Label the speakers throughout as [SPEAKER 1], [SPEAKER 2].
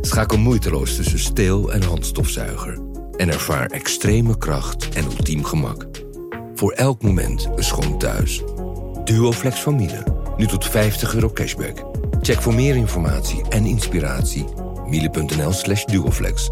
[SPEAKER 1] Schakel moeiteloos tussen steel- en handstofzuiger en ervaar extreme kracht en ultiem gemak. Voor elk moment een schoon thuis. Duoflex van Miele, nu tot 50 euro cashback. Check voor meer informatie en inspiratie miele.nl slash duoflex.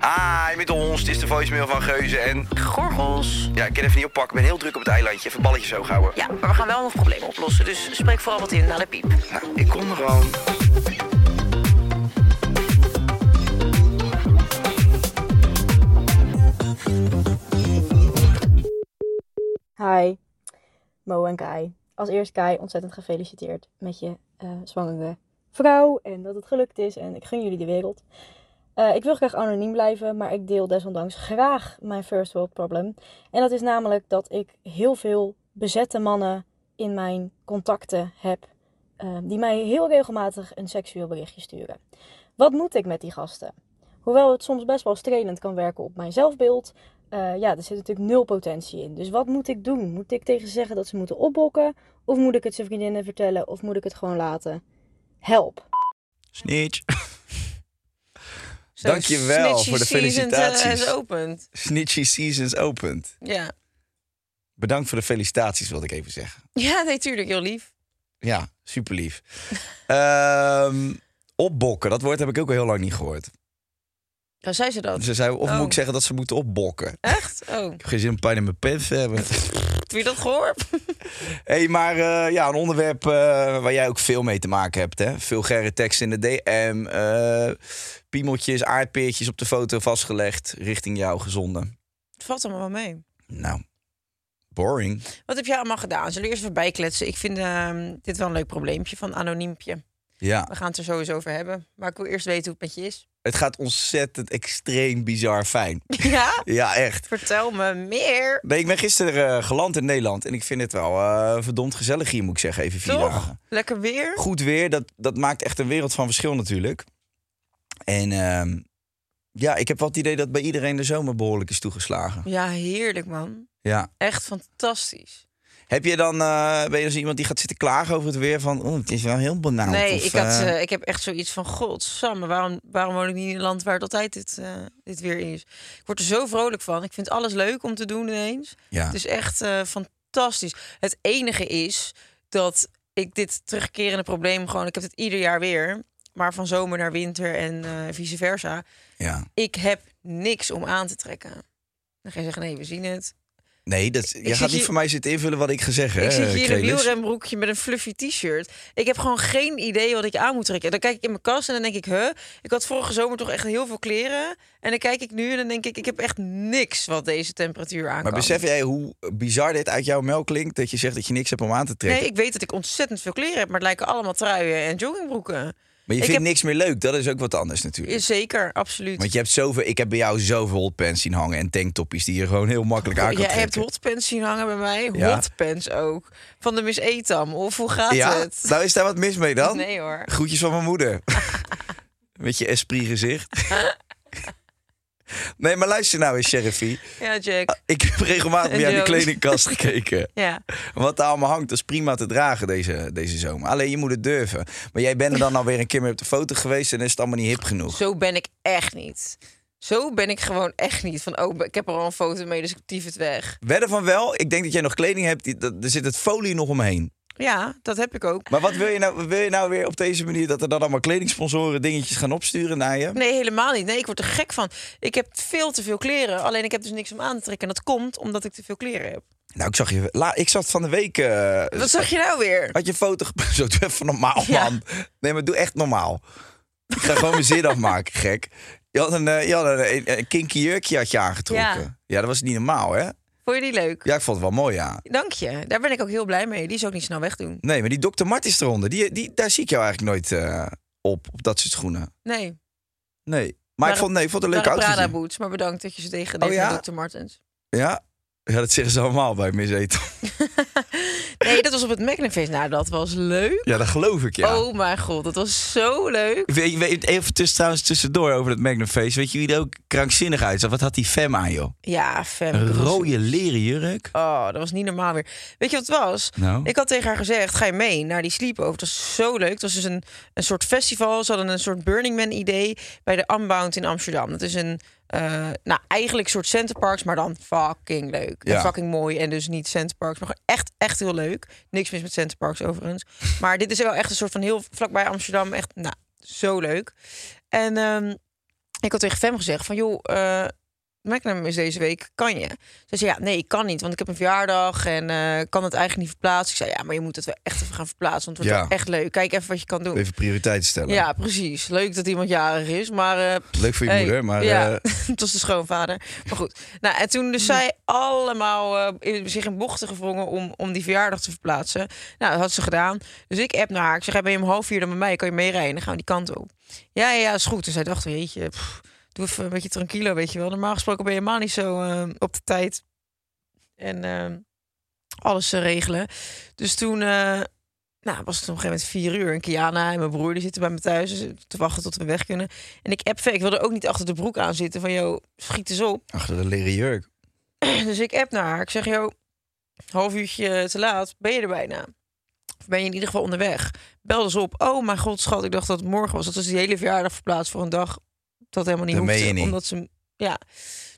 [SPEAKER 2] Hi, met ons. Het is Ah, de voicemail van Geuze en... Gorgels. Ja, ik kan even niet oppakken. Ik ben heel druk op het eilandje. Even balletjes hoog houden.
[SPEAKER 3] Ja, maar we gaan wel nog problemen oplossen, dus spreek vooral wat in naar de piep.
[SPEAKER 2] Nou, ik kom er al.
[SPEAKER 4] Hi, Mo en Kai. Als eerst Kai, ontzettend gefeliciteerd met je eh, zwangere vrouw en dat het gelukt is en ik gun jullie de wereld. Eh, ik wil graag anoniem blijven, maar ik deel desondanks graag mijn first world problem. En dat is namelijk dat ik heel veel bezette mannen in mijn contacten heb eh, die mij heel regelmatig een seksueel berichtje sturen. Wat moet ik met die gasten? Hoewel het soms best wel strelend kan werken op mijn zelfbeeld, eh, ja, er zit natuurlijk nul potentie in. Dus wat moet ik doen? Moet ik tegen ze zeggen dat ze moeten opbokken? Of moet ik het zijn vriendinnen vertellen? Of moet ik het gewoon laten? Help!
[SPEAKER 5] Snitch.
[SPEAKER 3] Zo
[SPEAKER 5] Dankjewel
[SPEAKER 3] snitchy
[SPEAKER 5] voor de
[SPEAKER 3] season, eh,
[SPEAKER 5] felicitaties.
[SPEAKER 3] is opent.
[SPEAKER 5] Snitchy Seasons opent.
[SPEAKER 3] Ja.
[SPEAKER 5] Bedankt voor de felicitaties, wilde ik even zeggen.
[SPEAKER 3] ja, nee, tuurlijk, heel lief.
[SPEAKER 5] Ja, super lief. Ehm, opbokken, dat woord heb ik ook al heel lang niet gehoord.
[SPEAKER 3] Dan zei ze dat.
[SPEAKER 5] Ze zei, of
[SPEAKER 3] Oh.
[SPEAKER 5] moet ik zeggen dat ze moeten opbokken? Ik
[SPEAKER 3] Echt? Oh,
[SPEAKER 5] heb geen zin om pijn in mijn pen te hebben.
[SPEAKER 3] heb je dat gehoord?
[SPEAKER 5] hey, maar eh, ja, een onderwerp eh, waar jij ook veel mee te maken hebt. Hè? Veel gerre teksten in de DM. eh, piemeltjes, aardpeertjes op de foto vastgelegd. Richting jou gezonden.
[SPEAKER 3] Het valt allemaal wel mee.
[SPEAKER 5] Nou, boring.
[SPEAKER 3] Wat heb jij allemaal gedaan? Zullen we eerst even bijkletsen? Ik vind ehm, dit wel een leuk probleempje van anoniempje.
[SPEAKER 5] Ja.
[SPEAKER 3] We gaan het er sowieso over hebben. Maar ik wil eerst weten hoe het met je is.
[SPEAKER 5] Het gaat ontzettend extreem bizar fijn.
[SPEAKER 3] Ja?
[SPEAKER 5] Ja, echt.
[SPEAKER 3] Vertel me meer.
[SPEAKER 5] Nee, ik ben gisteren eh, geland in Nederland en ik vind het wel eh, verdomd gezellig hier, moet ik zeggen. Even vier
[SPEAKER 3] Toch?
[SPEAKER 5] dagen.
[SPEAKER 3] Lekker weer.
[SPEAKER 5] Goed weer, dat, dat maakt echt een wereld van verschil natuurlijk. En ehm, ja, ik heb wel het idee dat bij iedereen de zomer behoorlijk is toegeslagen.
[SPEAKER 3] Ja, heerlijk man.
[SPEAKER 5] Ja.
[SPEAKER 3] Echt fantastisch.
[SPEAKER 5] Heb je dan, eh, ben je dus iemand die gaat zitten klagen over het weer van, oh, het is wel heel banaal.
[SPEAKER 3] nee,
[SPEAKER 5] of,
[SPEAKER 3] ik, had,
[SPEAKER 5] eh,
[SPEAKER 3] eh, ik heb echt zoiets van: Godsamme, waarom, waarom woon ik niet in een land waar het altijd dit, eh, dit weer is? Ik word er zo vrolijk van. Ik vind alles leuk om te doen ineens.
[SPEAKER 5] ja.
[SPEAKER 3] Het is echt eh, fantastisch. Het enige is dat ik dit terugkerende probleem gewoon, ik heb het ieder jaar weer, maar van zomer naar winter en eh, vice versa.
[SPEAKER 5] ja.
[SPEAKER 3] Ik heb niks om aan te trekken. Dan ga je zeggen: Nee, we zien het.
[SPEAKER 5] Nee, dat, jij
[SPEAKER 3] zit
[SPEAKER 5] gaat niet
[SPEAKER 3] hier-
[SPEAKER 5] voor mij zitten invullen wat ik ga zeggen.
[SPEAKER 3] Ik
[SPEAKER 5] hè,
[SPEAKER 3] zit hier in een
[SPEAKER 5] Eh, Krelis?
[SPEAKER 3] wielrenbroekje met een fluffy t-shirt. Ik heb gewoon geen idee wat ik aan moet trekken. Dan kijk ik in mijn kast en dan denk ik, huh? Ik had vorige zomer toch echt heel veel kleren. En dan kijk ik nu en dan denk ik, ik heb echt niks wat deze temperatuur aan
[SPEAKER 5] Maar
[SPEAKER 3] kan.
[SPEAKER 5] besef jij hoe bizar dit uit jouw melk klinkt? Dat je zegt dat je niks hebt om aan te trekken.
[SPEAKER 3] Nee, ik weet dat ik ontzettend veel kleren heb, maar het lijken allemaal truien en joggingbroeken.
[SPEAKER 5] Maar je
[SPEAKER 3] Ik
[SPEAKER 5] vindt
[SPEAKER 3] heb-
[SPEAKER 5] niks meer leuk, dat is ook wat anders natuurlijk.
[SPEAKER 3] Zeker, absoluut.
[SPEAKER 5] Want je hebt zoveel, ik heb bij jou zoveel hotpants zien hangen en tanktoppies die je gewoon heel makkelijk aan kan
[SPEAKER 3] Oh, Jij hebt
[SPEAKER 5] trekken.
[SPEAKER 3] hotpants zien hangen bij mij.
[SPEAKER 5] Ja.
[SPEAKER 3] Hotpants ook. Van de Miss Etam. Of hoe gaat
[SPEAKER 5] ja?
[SPEAKER 3] het?
[SPEAKER 5] Nou is daar wat mis mee dan?
[SPEAKER 3] Nee hoor.
[SPEAKER 5] Groetjes van mijn moeder. Met je esprit gezicht. nee, maar luister nou eens, Sheriffie.
[SPEAKER 3] Ja, Jack.
[SPEAKER 5] Ik heb regelmatig bij jou in de
[SPEAKER 3] Joke.
[SPEAKER 5] kledingkast gekeken.
[SPEAKER 3] Ja.
[SPEAKER 5] Wat daar allemaal hangt, dat is prima te dragen deze, deze zomer. Alleen je moet het durven. Maar jij bent er dan alweer een keer mee op de foto geweest en is het allemaal niet hip genoeg.
[SPEAKER 3] Zo ben ik echt niet. Zo ben ik gewoon echt niet. Van, oh, ik heb er al een foto mee, dus ik tief het weg.
[SPEAKER 5] Wedden van wel, ik denk dat jij nog kleding hebt, die, dat, er zit het folie nog omheen.
[SPEAKER 3] Ja, dat heb ik ook.
[SPEAKER 5] Maar wat wil je, nou, wil je nou weer op deze manier dat er dan allemaal kledingsponsoren dingetjes gaan opsturen naar je?
[SPEAKER 3] Nee, helemaal niet. Nee, ik word er gek van. Ik heb veel te veel kleren. Alleen ik heb dus niks om aan te trekken. En dat komt omdat ik te veel kleren heb.
[SPEAKER 5] Nou, ik zag je. La, ik zat van de week. eh,
[SPEAKER 3] Wat zag je nou weer?
[SPEAKER 5] Had je een foto gep- Zo, doe even normaal,
[SPEAKER 3] Ja.
[SPEAKER 5] man. Nee, maar doe echt normaal. Ik ga gewoon mijn zin afmaken, gek. Je had een, eh, je had een, een- een kinky jurkje had je aangetrokken. Ja.
[SPEAKER 3] Ja.
[SPEAKER 5] dat was niet normaal, hè?
[SPEAKER 3] Vond je die leuk?
[SPEAKER 5] Ja, ik vond het wel mooi, ja.
[SPEAKER 3] Dank je. Daar ben ik ook heel blij mee. Die is ook niet snel wegdoen.
[SPEAKER 5] Nee, maar die Dr. Martens eronder, die, die, daar zie ik jou eigenlijk nooit eh, op, op dat soort schoenen.
[SPEAKER 3] Nee.
[SPEAKER 5] Nee. Maar, ik
[SPEAKER 3] Waren-
[SPEAKER 5] vond, nee, ik vond het een
[SPEAKER 3] Naar de
[SPEAKER 5] leuk
[SPEAKER 3] Prada
[SPEAKER 5] outfitje.
[SPEAKER 3] boots. Maar bedankt dat je ze tegen
[SPEAKER 5] Oh
[SPEAKER 3] deed
[SPEAKER 5] ja?
[SPEAKER 3] met Dr. Martens.
[SPEAKER 5] Ja? ja, dat zeggen ze allemaal bij Miss Eten.
[SPEAKER 3] nee, dat was op het Magnumfeest. Nou, dat was leuk.
[SPEAKER 5] Ja, dat geloof ik, ja.
[SPEAKER 3] Oh mijn god, dat was zo leuk.
[SPEAKER 5] Weet, weet, even tussen, trouwens tussendoor over dat Magnumfeest. Weet je wie er ook krankzinnig uitzag? Wat had die fem aan, joh?
[SPEAKER 3] Ja, fem.
[SPEAKER 5] Een
[SPEAKER 3] dat was-
[SPEAKER 5] rode leren jurk.
[SPEAKER 3] Oh, dat was niet normaal weer. Weet je wat het was?
[SPEAKER 5] Nou.
[SPEAKER 3] Ik had tegen haar gezegd, ga je mee naar die sleepover? Dat is zo leuk. Dat was dus een, een soort festival. Ze hadden een soort Burning Man idee bij de Unbound in Amsterdam. Dat is een, eh, nou eigenlijk soort centerparks, maar dan fucking leuk.
[SPEAKER 5] Ja.
[SPEAKER 3] En fucking mooi en dus niet centerparks, maar gewoon echt, echt heel leuk. Niks mis met centerparks overigens. maar dit is wel echt een soort van heel vlakbij Amsterdam. Echt, nou, zo leuk. En ehm, ik had tegen Fem gezegd van, joh... eh, Magnum is deze week, kan je? Ze zei, ja, nee, ik kan niet, want ik heb een verjaardag en eh, ik kan het eigenlijk niet verplaatsen. Ik zei, ja, maar je moet het wel echt even gaan verplaatsen, want het wordt
[SPEAKER 5] Ja.
[SPEAKER 3] wel echt leuk. Kijk even wat je kan doen.
[SPEAKER 5] Even prioriteiten stellen.
[SPEAKER 3] Ja, precies. Leuk dat iemand jarig is, maar... eh, pff,
[SPEAKER 5] Leuk voor je
[SPEAKER 3] hey,
[SPEAKER 5] moeder, maar...
[SPEAKER 3] Ja,
[SPEAKER 5] eh,
[SPEAKER 3] het was de schoonvader. Maar goed. Nou, en toen dus zij allemaal eh, in- zich in bochten gevrongen om, om die verjaardag te verplaatsen. Nou, dat had ze gedaan. Dus ik app naar haar. Ik zeg, hey, ben je om half vier dan bij mij? Kan je meerijden? Dan gaan we die kant op. Ja, ja, ja, is goed. Dus zij dacht, jeetje, pff, doe even een beetje tranquilo, weet je wel. Normaal gesproken ben je helemaal niet zo eh, op de tijd. En eh, alles te regelen. Dus toen... eh, nou, was het op een gegeven moment vier uur. En Kiana en mijn broer die zitten bij me thuis dus te wachten tot we weg kunnen. En ik app Fer, ik wilde ook niet achter de broek aan zitten van, joh, schiet eens op.
[SPEAKER 5] achter de leren jurk.
[SPEAKER 3] Dus ik app naar haar. Ik zeg, joh, half uurtje te laat, ben je er bijna? Of ben je in ieder geval onderweg? Bel dus op. Oh mijn god, schat, ik dacht dat het morgen was. Dat was die hele verjaardag verplaatst voor een dag. Dat helemaal niet
[SPEAKER 5] Dat meen
[SPEAKER 3] hoefde.
[SPEAKER 5] je niet.
[SPEAKER 3] Omdat ze, ja.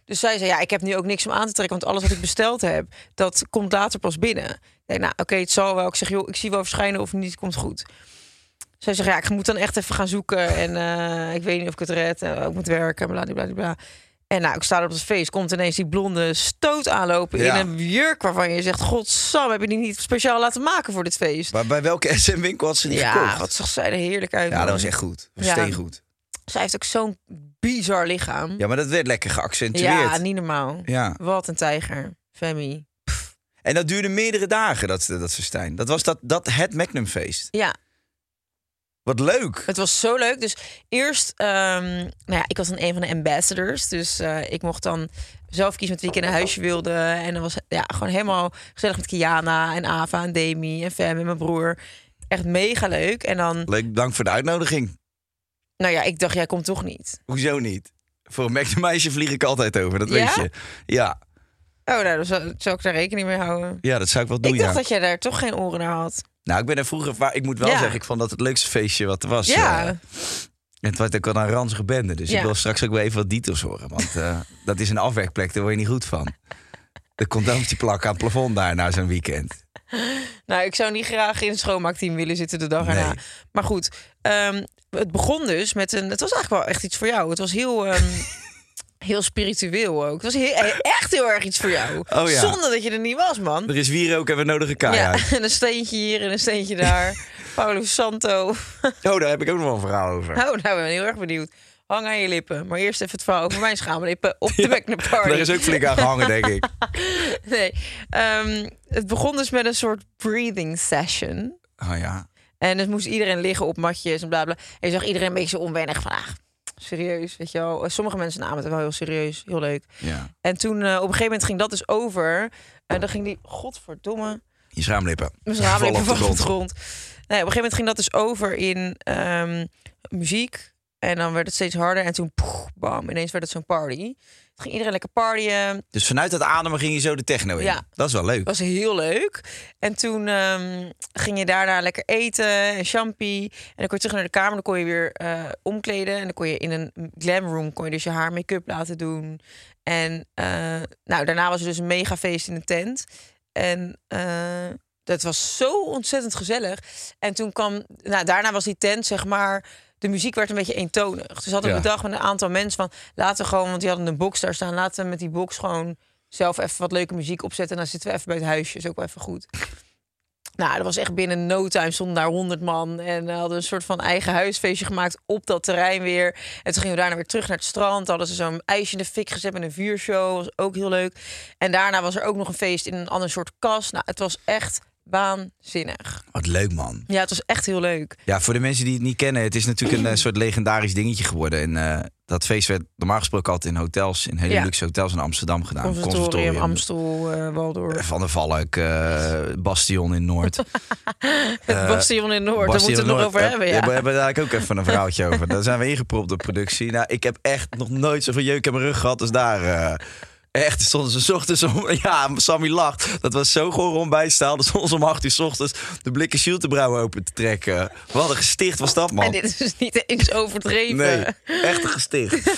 [SPEAKER 3] Dus zij zei, ja, ik heb nu ook niks om aan te trekken. Want alles wat ik besteld heb, dat komt later pas binnen. Ik denk, nou, oké, het zal wel. Ik zeg, joh, ik zie wel verschijnen of niet, het komt goed. Zij zegt, ja, ik moet dan echt even gaan zoeken. En eh, ik weet niet of ik het red. En ik moet werken, blablabla. En nou, ik sta er op het feest. Komt ineens die blonde stoot aanlopen
[SPEAKER 5] Ja.
[SPEAKER 3] in een jurk waarvan je zegt... Godsam, heb je die niet speciaal laten maken voor dit feest?
[SPEAKER 5] Maar bij welke SM-winkel had ze die
[SPEAKER 3] Ja,
[SPEAKER 5] gekocht?
[SPEAKER 3] wat zag zij er heerlijk uit.
[SPEAKER 5] Ja, dat
[SPEAKER 3] man.
[SPEAKER 5] was echt goed. Dat was
[SPEAKER 3] Ja.
[SPEAKER 5] steengoed.
[SPEAKER 3] Zij heeft ook zo'n bizar lichaam.
[SPEAKER 5] Ja, maar dat werd lekker geaccentueerd.
[SPEAKER 3] Ja, niet normaal.
[SPEAKER 5] Ja.
[SPEAKER 3] Wat een tijger. Femi.
[SPEAKER 5] En dat duurde meerdere dagen, dat, dat festijn. Dat was dat, dat het Magnumfeest.
[SPEAKER 3] Ja,
[SPEAKER 5] Wat leuk.
[SPEAKER 3] Het was zo leuk. Dus eerst, ehm, nou ja, ik was dan een van de ambassadors. Dus eh, ik mocht dan zelf kiezen met wie ik in een huisje wilde. En dan was ja, gewoon helemaal gezellig met Kiana en Ava en Demi en Fem en mijn broer. Echt mega leuk. En dan,
[SPEAKER 5] Leuk, dank voor de uitnodiging.
[SPEAKER 3] nou ja, ik dacht, jij komt toch niet.
[SPEAKER 5] Hoezo niet? Voor een Magnummeisje vlieg ik altijd over, dat
[SPEAKER 3] Ja?
[SPEAKER 5] weet je. Ja,
[SPEAKER 3] Oh, nou, dan zou, zou ik daar rekening mee houden.
[SPEAKER 5] ja, dat zou ik wel doen,
[SPEAKER 3] ik dacht
[SPEAKER 5] Oh ja.
[SPEAKER 3] dat jij daar toch geen oren naar had.
[SPEAKER 5] Nou, ik ben er vroeger... va- Ik moet wel
[SPEAKER 3] Ja.
[SPEAKER 5] zeggen, ik vond dat het leukste feestje wat er was. eh,
[SPEAKER 3] ja,
[SPEAKER 5] het was ook wel een ranzige bende. Dus
[SPEAKER 3] Ja.
[SPEAKER 5] ik wil straks ook weer even wat details horen. Want eh, dat is een afwerkplek, daar word je niet goed van. De condooms die plakken aan het plafond daar na zo'n weekend.
[SPEAKER 3] nou, ik zou niet graag in een schoonmaakteam willen zitten de dag
[SPEAKER 5] Nee.
[SPEAKER 3] erna. Maar goed, ehm, het begon dus met een. Het was eigenlijk wel echt iets voor jou. Het was heel. ehm, Heel spiritueel ook. Het was heel, eh, echt heel erg iets voor jou.
[SPEAKER 5] Oh ja.
[SPEAKER 3] Zonder dat je er niet was, man.
[SPEAKER 5] Er is wierook en we nodigen Kai
[SPEAKER 3] ja,
[SPEAKER 5] uit.
[SPEAKER 3] en een steentje hier en een steentje daar. Paulo Santo.
[SPEAKER 5] Oh, daar heb ik ook nog wel een verhaal over.
[SPEAKER 3] Oh, nou, ik ben heel erg benieuwd. Hang aan je lippen. Maar eerst even het verhaal over mijn schaamlippen op de Magnum Party.
[SPEAKER 5] Daar is ook flink aan gehangen, denk ik.
[SPEAKER 3] Nee. ehm, het begon dus met een soort breathing session.
[SPEAKER 5] Oh ja.
[SPEAKER 3] En dus moest iedereen liggen op matjes en bla bla. En je zag iedereen een beetje zo onwennig van, ah, serieus, weet je wel. Sommige mensen namen het wel heel serieus, heel leuk.
[SPEAKER 5] ja.
[SPEAKER 3] En toen eh, op een gegeven moment ging dat dus over. En dan ging die, godverdomme,
[SPEAKER 5] Je schaamlippen.
[SPEAKER 3] mijn
[SPEAKER 5] Vallen
[SPEAKER 3] schaamlippen
[SPEAKER 5] op de
[SPEAKER 3] van de
[SPEAKER 5] grond.
[SPEAKER 3] grond. Nee, op een gegeven moment ging dat dus over in ehm, muziek. En dan werd het steeds harder. En toen, poeh, bam, ineens werd het zo'n party. Toen ging iedereen lekker partyen.
[SPEAKER 5] Dus vanuit dat ademen ging je zo de techno in.
[SPEAKER 3] Ja.
[SPEAKER 5] Dat is wel leuk.
[SPEAKER 3] was heel leuk. En toen ehm, ging je daarna lekker eten en champie. En dan kon je terug naar de kamer. Dan kon je weer eh, omkleden. En dan kon je in een glam room kon je dus je haar make-up laten doen. En eh, nou, daarna was er dus een mega feest in de tent. En eh, dat was zo ontzettend gezellig. En toen kwam, nou, daarna was die tent, zeg maar. De muziek werd een beetje eentonig. Dus hadden we
[SPEAKER 5] Ja.
[SPEAKER 3] bedacht met een aantal mensen van laten we gewoon, want die hadden een box daar staan, laten we met die box gewoon zelf even wat leuke muziek opzetten. En dan zitten we even bij het huisje. Is ook wel even goed. Nou, dat was echt binnen no time stonden daar honderd man. En eh, hadden een soort van eigen huisfeestje gemaakt op dat terrein weer. En toen gingen we daarna weer terug naar het strand. Hadden ze zo'n ijsje in de fik gezet met een vuurshow. Was ook heel leuk. En daarna was er ook nog een feest in een ander soort kas. Nou, het was echt waanzinnig.
[SPEAKER 5] Wat leuk, man.
[SPEAKER 3] Ja, het was echt heel leuk.
[SPEAKER 5] Ja, voor de mensen die het niet kennen, het is natuurlijk een eh, soort legendarisch dingetje geworden. En eh, dat feest werd normaal gesproken altijd in hotels, in hele
[SPEAKER 3] Ja.
[SPEAKER 5] luxe hotels in Amsterdam gedaan.
[SPEAKER 3] Conservatorium, Amstel, eh Waldorf.
[SPEAKER 5] Van der Valk, eh, Bastion in Noord.
[SPEAKER 3] Het Eh, Bastion in Noord, daar moeten we het nog over hebben.
[SPEAKER 5] eh, We
[SPEAKER 3] Ja.
[SPEAKER 5] hebben daar eigenlijk ook even een verhaaltje over. Daar zijn we ingepropt op productie. Nou, ik heb echt nog nooit zoveel jeuk in mijn rug gehad als daar. eh. Echt, stonden ze 's ochtends om... Ja, Sammy lacht. Dat was zo goor ontbijtstaal. Dat stonden ze om 8 uur 's ochtends de blikken Schultebrouw open te trekken. Wat een gesticht was dat, man.
[SPEAKER 3] En dit is dus niet eens overdreven.
[SPEAKER 5] Nee, echt een gesticht.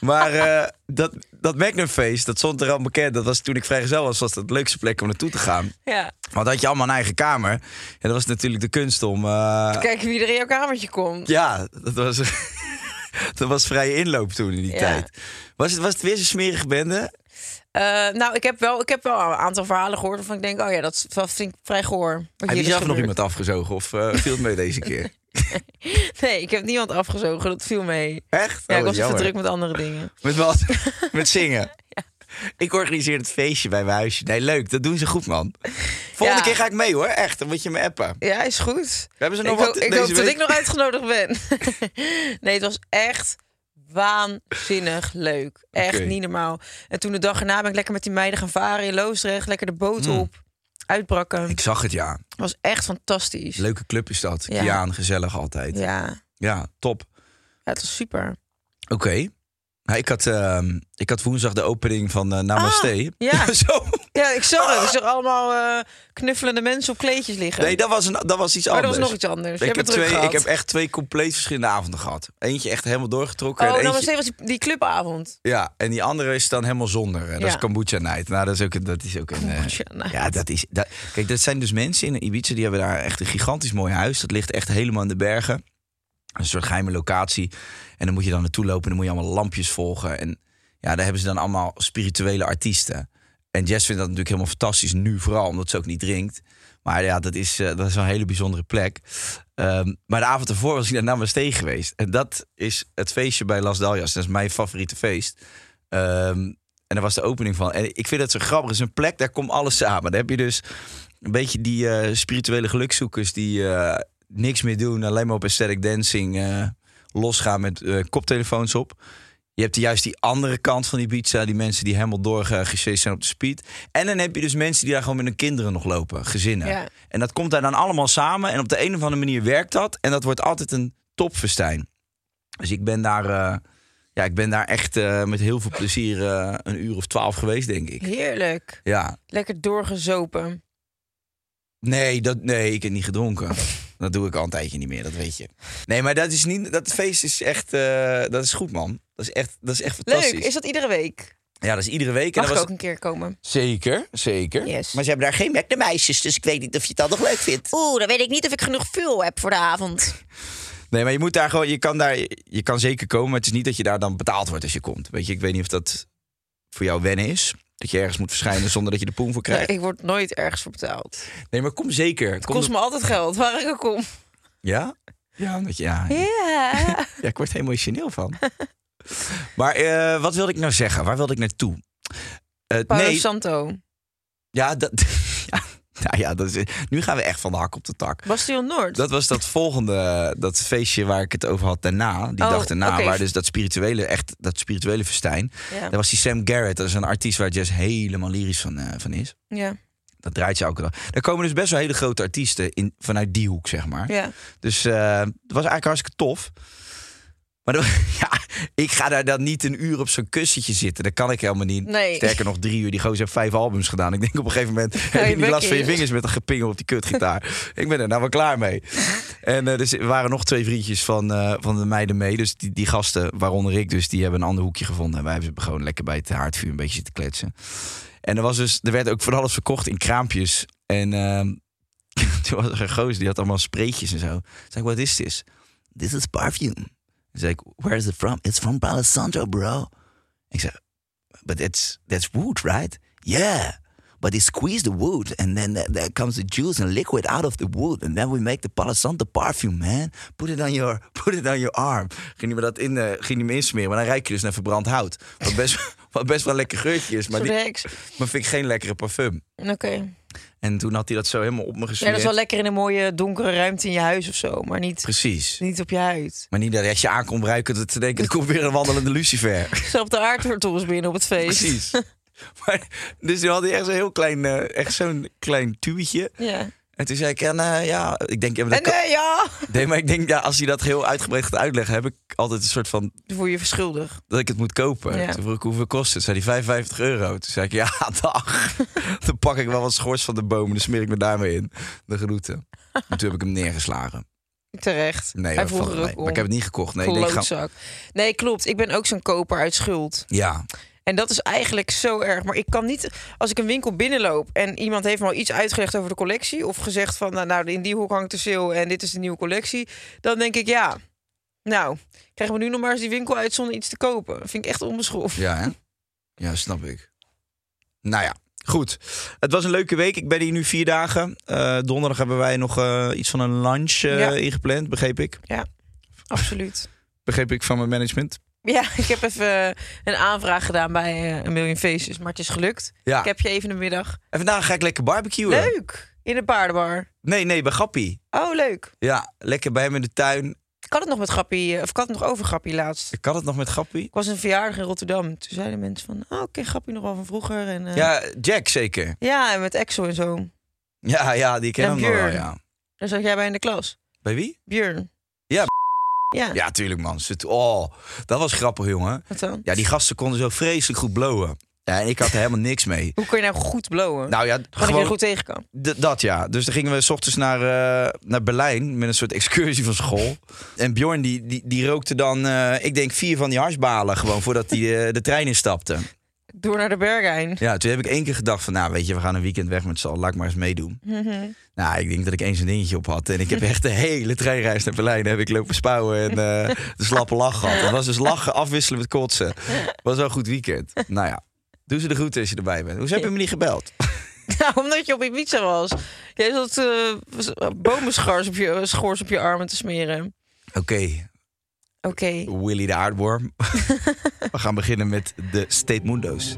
[SPEAKER 5] maar eh, dat, dat Magnumfeest, dat stond er al bekend. Dat was toen ik vrijgezel was, was dat de leukste plek om naartoe te gaan.
[SPEAKER 3] Ja.
[SPEAKER 5] Want dan had je allemaal een eigen kamer. En dat was natuurlijk de kunst om... eh,
[SPEAKER 3] Kijk wie er in jouw kamertje komt.
[SPEAKER 5] ja, dat was, dat was vrije inloop toen in die
[SPEAKER 3] Ja.
[SPEAKER 5] tijd. Was het, was het weer zo'n smerige bende?
[SPEAKER 3] Eh, nou, ik heb, wel, ik heb wel een aantal verhalen gehoord waarvan ik denk... oh ja, dat, is- dat vind ik vrij goor. wat
[SPEAKER 5] Heb
[SPEAKER 3] hier
[SPEAKER 5] je
[SPEAKER 3] dus is
[SPEAKER 5] zelf nog
[SPEAKER 3] gebeurd.
[SPEAKER 5] iemand afgezogen of eh, viel het mee deze keer?
[SPEAKER 3] Nee, ik heb niemand afgezogen. Dat viel mee.
[SPEAKER 5] Echt?
[SPEAKER 3] Ja,
[SPEAKER 5] Oh,
[SPEAKER 3] ik was even
[SPEAKER 5] jammer.
[SPEAKER 3] druk met andere dingen.
[SPEAKER 5] Met wat? met zingen? Ik organiseer het feestje bij mijn huisje. Nee, leuk. Dat doen ze goed, man. Volgende
[SPEAKER 3] Ja.
[SPEAKER 5] keer ga ik mee, hoor. Echt. Dan moet je me appen.
[SPEAKER 3] Ja, is goed.
[SPEAKER 5] We hebben ze nog
[SPEAKER 3] Ik,
[SPEAKER 5] wat
[SPEAKER 3] hoop, ik
[SPEAKER 5] deze
[SPEAKER 3] hoop dat
[SPEAKER 5] week?
[SPEAKER 3] ik nog uitgenodigd ben. nee, het was echt waanzinnig leuk. Echt
[SPEAKER 5] Oké.
[SPEAKER 3] niet normaal. En toen de dag erna ben ik lekker met die meiden gaan varen in Loosdrecht. Lekker de boot
[SPEAKER 5] Mm.
[SPEAKER 3] op. Uitbrakken.
[SPEAKER 5] Ik zag het, ja.
[SPEAKER 3] was echt fantastisch.
[SPEAKER 5] Leuke club is dat.
[SPEAKER 3] Ja.
[SPEAKER 5] Kiaan, gezellig altijd. Ja,
[SPEAKER 3] Ja. ja,
[SPEAKER 5] top.
[SPEAKER 3] het was super.
[SPEAKER 5] Oké. Nou, ik, had, ehm, ik had woensdag de opening van eh, Namaste.
[SPEAKER 3] Ah, ja.
[SPEAKER 5] Zo.
[SPEAKER 3] Ja, ik zag het. Ik zag allemaal eh, knuffelende mensen op kleedjes liggen.
[SPEAKER 5] Ah. Nee, dat was, een, dat was iets
[SPEAKER 3] maar dat
[SPEAKER 5] anders.
[SPEAKER 3] was nog iets anders. Je
[SPEAKER 5] Ik heb,
[SPEAKER 3] hebt het druk
[SPEAKER 5] twee, ik
[SPEAKER 3] gehad.
[SPEAKER 5] heb echt twee compleet verschillende avonden gehad. Eentje echt helemaal doorgetrokken.
[SPEAKER 3] Oh,
[SPEAKER 5] en,
[SPEAKER 3] nou,
[SPEAKER 5] eentje,
[SPEAKER 3] maar steeds was die, die clubavond.
[SPEAKER 5] ja, en die andere is dan helemaal zonder. hè. Dat is
[SPEAKER 3] Ja.
[SPEAKER 5] kombucha night. Nou, dat is ook, een- dat is ook een... eh,
[SPEAKER 3] Kombucha night.
[SPEAKER 5] ja, dat is... Dat, kijk, dat zijn dus mensen in Ibiza. Die hebben daar echt een gigantisch mooi huis. Dat ligt echt helemaal in de bergen. Een soort geheime locatie. En dan moet je dan naartoe lopen. En dan moet je allemaal lampjes volgen. En ja, daar hebben ze dan allemaal spirituele artiesten. En Jess vindt dat natuurlijk helemaal fantastisch. Nu vooral, omdat ze ook niet drinkt. Maar ja, dat is, eh, dat is een hele bijzondere plek. Ehm, maar de avond ervoor was ik naar Namaste geweest. En dat is het feestje bij Las Daljas. Dat is mijn favoriete feest. Ehm, en daar was de opening van. En ik vind dat zo grappig. Het is een plek, daar komt alles samen. Daar heb je dus een beetje die eh, spirituele gelukzoekers... die eh, niks meer doen, alleen maar op aesthetic dancing... eh, losgaan met eh, koptelefoons op. Je hebt juist die andere kant van die pizza, die mensen die helemaal doorgechased zijn op de speed. En dan heb je dus mensen die daar gewoon met hun kinderen nog lopen, gezinnen.
[SPEAKER 3] Ja.
[SPEAKER 5] En dat komt daar dan allemaal samen. En op de een of andere manier werkt dat. En dat wordt altijd een topfestijn. Dus ik ben daar, eh, ja, ik ben daar echt eh, met heel veel plezier eh, een uur of twaalf geweest, denk ik.
[SPEAKER 3] Heerlijk.
[SPEAKER 5] Ja.
[SPEAKER 3] Lekker doorgezopen.
[SPEAKER 5] Nee, dat, nee, ik heb niet gedronken. Dat doe ik al een tijdje niet meer, dat weet je. Nee, maar dat is niet. Dat feest is echt. eh, dat is goed, man. Dat is echt, dat is echt fantastisch.
[SPEAKER 3] Leuk. Is dat iedere week?
[SPEAKER 5] Ja, dat is iedere week.
[SPEAKER 3] Mag
[SPEAKER 5] en dat
[SPEAKER 3] ik
[SPEAKER 5] was
[SPEAKER 3] ook een keer komen?
[SPEAKER 5] Zeker, zeker.
[SPEAKER 3] Yes.
[SPEAKER 5] Maar ze hebben daar geen Mac de meisjes, dus ik weet niet of je het dan nog leuk vindt.
[SPEAKER 3] Oeh, dan weet ik niet of ik genoeg fuel heb voor de avond.
[SPEAKER 5] Nee, maar je moet daar gewoon, je kan daar, je kan zeker komen, maar het is niet dat je daar dan betaald wordt als je komt. Weet je, ik weet niet of dat voor jou wennen is. Dat je ergens moet verschijnen zonder dat je de poen voor krijgt.
[SPEAKER 3] ik word nooit ergens voor betaald. Het
[SPEAKER 5] Nee, maar kom zeker. Kom
[SPEAKER 3] kost
[SPEAKER 5] er-
[SPEAKER 3] me altijd geld, waar ik ook kom.
[SPEAKER 5] Ja? Ja, omdat je, ja,
[SPEAKER 3] Ja.
[SPEAKER 5] ja, ik word er emotioneel van. maar eh, wat wilde ik nou zeggen? Waar wilde ik naartoe? Eh,
[SPEAKER 3] Paolo
[SPEAKER 5] nee,
[SPEAKER 3] Santo.
[SPEAKER 5] ja, dat, ja, nou ja, dat is, nu gaan we echt van de hak op de tak.
[SPEAKER 3] Bastion Noord.
[SPEAKER 5] Dat was dat volgende, eh, dat feestje waar ik het over had daarna. Die
[SPEAKER 3] Oh,
[SPEAKER 5] dag daarna,
[SPEAKER 3] oké.
[SPEAKER 5] waar dus dat spirituele, echt dat spirituele festijn.
[SPEAKER 3] Ja.
[SPEAKER 5] Daar was die Sam Garrett, dat is een artiest waar Jess helemaal lyrisch van, eh, van is.
[SPEAKER 3] ja.
[SPEAKER 5] Dat draait ze elke dag. Daar komen dus best wel hele grote artiesten in, vanuit die hoek, zeg maar.
[SPEAKER 3] ja.
[SPEAKER 5] Dus eh, dat was eigenlijk hartstikke tof. Maar dan- ja, ik ga daar dan niet een uur op zo'n kussentje zitten. Dat kan ik helemaal niet.
[SPEAKER 3] Nee.
[SPEAKER 5] Sterker nog, drie uur. Die gozer heeft vijf albums gedaan. Ik denk op een gegeven moment heb je
[SPEAKER 3] je
[SPEAKER 5] niet last
[SPEAKER 3] bek
[SPEAKER 5] van je
[SPEAKER 3] in.
[SPEAKER 5] vingers met een gepingel op die kutgitaar. ik ben er nou wel klaar mee. En eh, dus er waren nog twee vriendjes van, eh, van de meiden mee. Dus die, die gasten, waaronder ik dus, die hebben een ander hoekje gevonden. En wij hebben ze gewoon lekker bij het haardvuur een beetje zitten kletsen. En er, was dus, er werd ook van alles verkocht in kraampjes. En ehm, toen was er een gozer, die had allemaal spreetjes en zo. Toen zei ik, wat is dit? This is perfume. Toen zei ik, where is it from? It's from Palo Santo, bro. Ik zei, but it's, that's wood, right? Yeah, but they squeeze the wood and then th- there comes the juice and liquid out of the wood. And then we make the Palo Santo perfume, man. Put it on your, put it on your arm. Ging hij me dat in, eh, ging hij me insmeren. Maar dan ruik je dus naar verbrand hout. Wat best, wat best wel een lekker geurtje is. Maar,
[SPEAKER 3] Zo'n
[SPEAKER 5] die,
[SPEAKER 3] heks.
[SPEAKER 5] maar vind ik geen lekkere parfum.
[SPEAKER 3] Oké.
[SPEAKER 5] En toen had hij dat zo helemaal op me gesmeerd.
[SPEAKER 3] Ja, dat is wel lekker in een mooie donkere ruimte in je huis of zo. Maar niet,
[SPEAKER 5] Precies.
[SPEAKER 3] niet op je huid.
[SPEAKER 5] Maar niet dat als je aankomt ruiken dat te denken, er komt weer een wandelende lucifer.
[SPEAKER 3] Zelf de aardwortels binnen op het feest.
[SPEAKER 5] Precies. Maar, dus toen had hij echt zo'n heel klein, eh, echt zo'n klein tubietje.
[SPEAKER 3] Ja.
[SPEAKER 5] En toen zei ik, en, eh, ja, ik denk, ja, maar dat
[SPEAKER 3] En
[SPEAKER 5] kan-
[SPEAKER 3] eh, ja,
[SPEAKER 5] nee, maar ik denk, ja, als hij dat heel uitgebreid gaat uitleggen, heb ik altijd een soort van
[SPEAKER 3] dan voel je je verschuldig.
[SPEAKER 5] dat ik het moet kopen.
[SPEAKER 3] Ja.
[SPEAKER 5] Toen vroeg ik hoeveel kost het? Zei hij 55 euro. Toen zei ik, ja, dag. Dan pak ik wel wat schors van de boom en dan smeer ik me daarmee in. De groeten. En toen heb ik hem neergeslagen.
[SPEAKER 3] Terecht.
[SPEAKER 5] Nee,
[SPEAKER 3] Hij
[SPEAKER 5] hoor,
[SPEAKER 3] vroeg
[SPEAKER 5] valt
[SPEAKER 3] er
[SPEAKER 5] mee.
[SPEAKER 3] ook om.
[SPEAKER 5] maar ik heb het niet gekocht. Nee, ik denk, ga-
[SPEAKER 3] Klootzak. Nee, klopt. Ik ben ook zo'n koper uit schuld.
[SPEAKER 5] ja,
[SPEAKER 3] En dat is eigenlijk zo erg. Maar ik kan niet, als ik een winkel binnenloop en iemand heeft me al iets uitgelegd over de collectie. of gezegd van, nou, nou, in die hoek hangt de sale en dit is de nieuwe collectie. dan denk ik, ja, nou, krijgen we nu nog maar eens die winkel uit zonder iets te kopen. vind ik echt onbeschoft.
[SPEAKER 5] Ja, hè? Ja, snap ik. Nou ja, goed. Het was een leuke week. Ik ben hier nu vier dagen. Eh, donderdag hebben wij nog eh, iets van een lunch eh,
[SPEAKER 3] Ja.
[SPEAKER 5] ingepland, begreep ik.
[SPEAKER 3] Absoluut.
[SPEAKER 5] Begreep ik van mijn management.
[SPEAKER 3] Ja, ik heb even eh, een aanvraag gedaan bij eh, een miljoen feestjes, maar het is gelukt.
[SPEAKER 5] Ja.
[SPEAKER 3] Ik heb je even de middag.
[SPEAKER 5] En vandaag ga ik lekker barbecuen.
[SPEAKER 3] Leuk! In de paardenbar.
[SPEAKER 5] Nee, nee, bij Gappie.
[SPEAKER 3] Oh, leuk.
[SPEAKER 5] Ja, lekker bij hem in de tuin.
[SPEAKER 3] Ik had het nog met Grappie, eh, of ik had het nog over Grappie laatst.
[SPEAKER 5] Ik had het nog met Gappie.
[SPEAKER 3] Ik was een verjaardag in Rotterdam. Toen zeiden mensen van, oh, ik ken Grappie nog wel van vroeger. En, eh,
[SPEAKER 5] Ja, Jack zeker.
[SPEAKER 3] ja, en met Exo en zo.
[SPEAKER 5] Ja, ja, die ken
[SPEAKER 3] En
[SPEAKER 5] hem nog wel,
[SPEAKER 3] Björn.
[SPEAKER 5] ja.
[SPEAKER 3] Daar zat jij bij in de klas.
[SPEAKER 5] Bij wie?
[SPEAKER 3] Björn.
[SPEAKER 5] Ja.
[SPEAKER 3] Ja,
[SPEAKER 5] Ja, tuurlijk man. Zit- Oh, dat was grappig, jongen.
[SPEAKER 3] wat dan?
[SPEAKER 5] Ja, die gasten konden zo vreselijk goed blowen. Ja, en ik had er helemaal niks mee.
[SPEAKER 3] Hoe kun je nou goed blowen?
[SPEAKER 5] Nou ja,
[SPEAKER 3] Gewoon dat je
[SPEAKER 5] gewoon
[SPEAKER 3] er goed tegen kan.
[SPEAKER 5] D- dat ja. Dus dan gingen we s ochtends naar, eh, naar Berlijn met een soort excursie van school. En Bjorn die, die, die rookte dan, eh, ik denk, vier van die harsbalen gewoon voordat hij eh, de trein instapte.
[SPEAKER 3] Door naar de Bergijn.
[SPEAKER 5] Ja, toen heb ik één keer gedacht van, nou weet je, we gaan een weekend weg met z'n allen, laat ik maar eens meedoen. Nou, ik denk dat ik eens een dingetje op had. En ik heb echt de hele treinreis naar Berlijn heb ik lopen spouwen en eh, de slappe lach gehad. Het was dus lachen, afwisselen met kotsen. Was wel een goed weekend. Nou ja, doe ze de groeten als je erbij bent. Hoezo heb je me niet gebeld?
[SPEAKER 3] Nou, omdat je op Ibiza was. Jij zat eh, was- eh, bomenschors op je, schors op je armen te smeren.
[SPEAKER 5] Oké,
[SPEAKER 3] Oké.
[SPEAKER 5] Willy de aardworm. We gaan beginnen met de State Mundo's.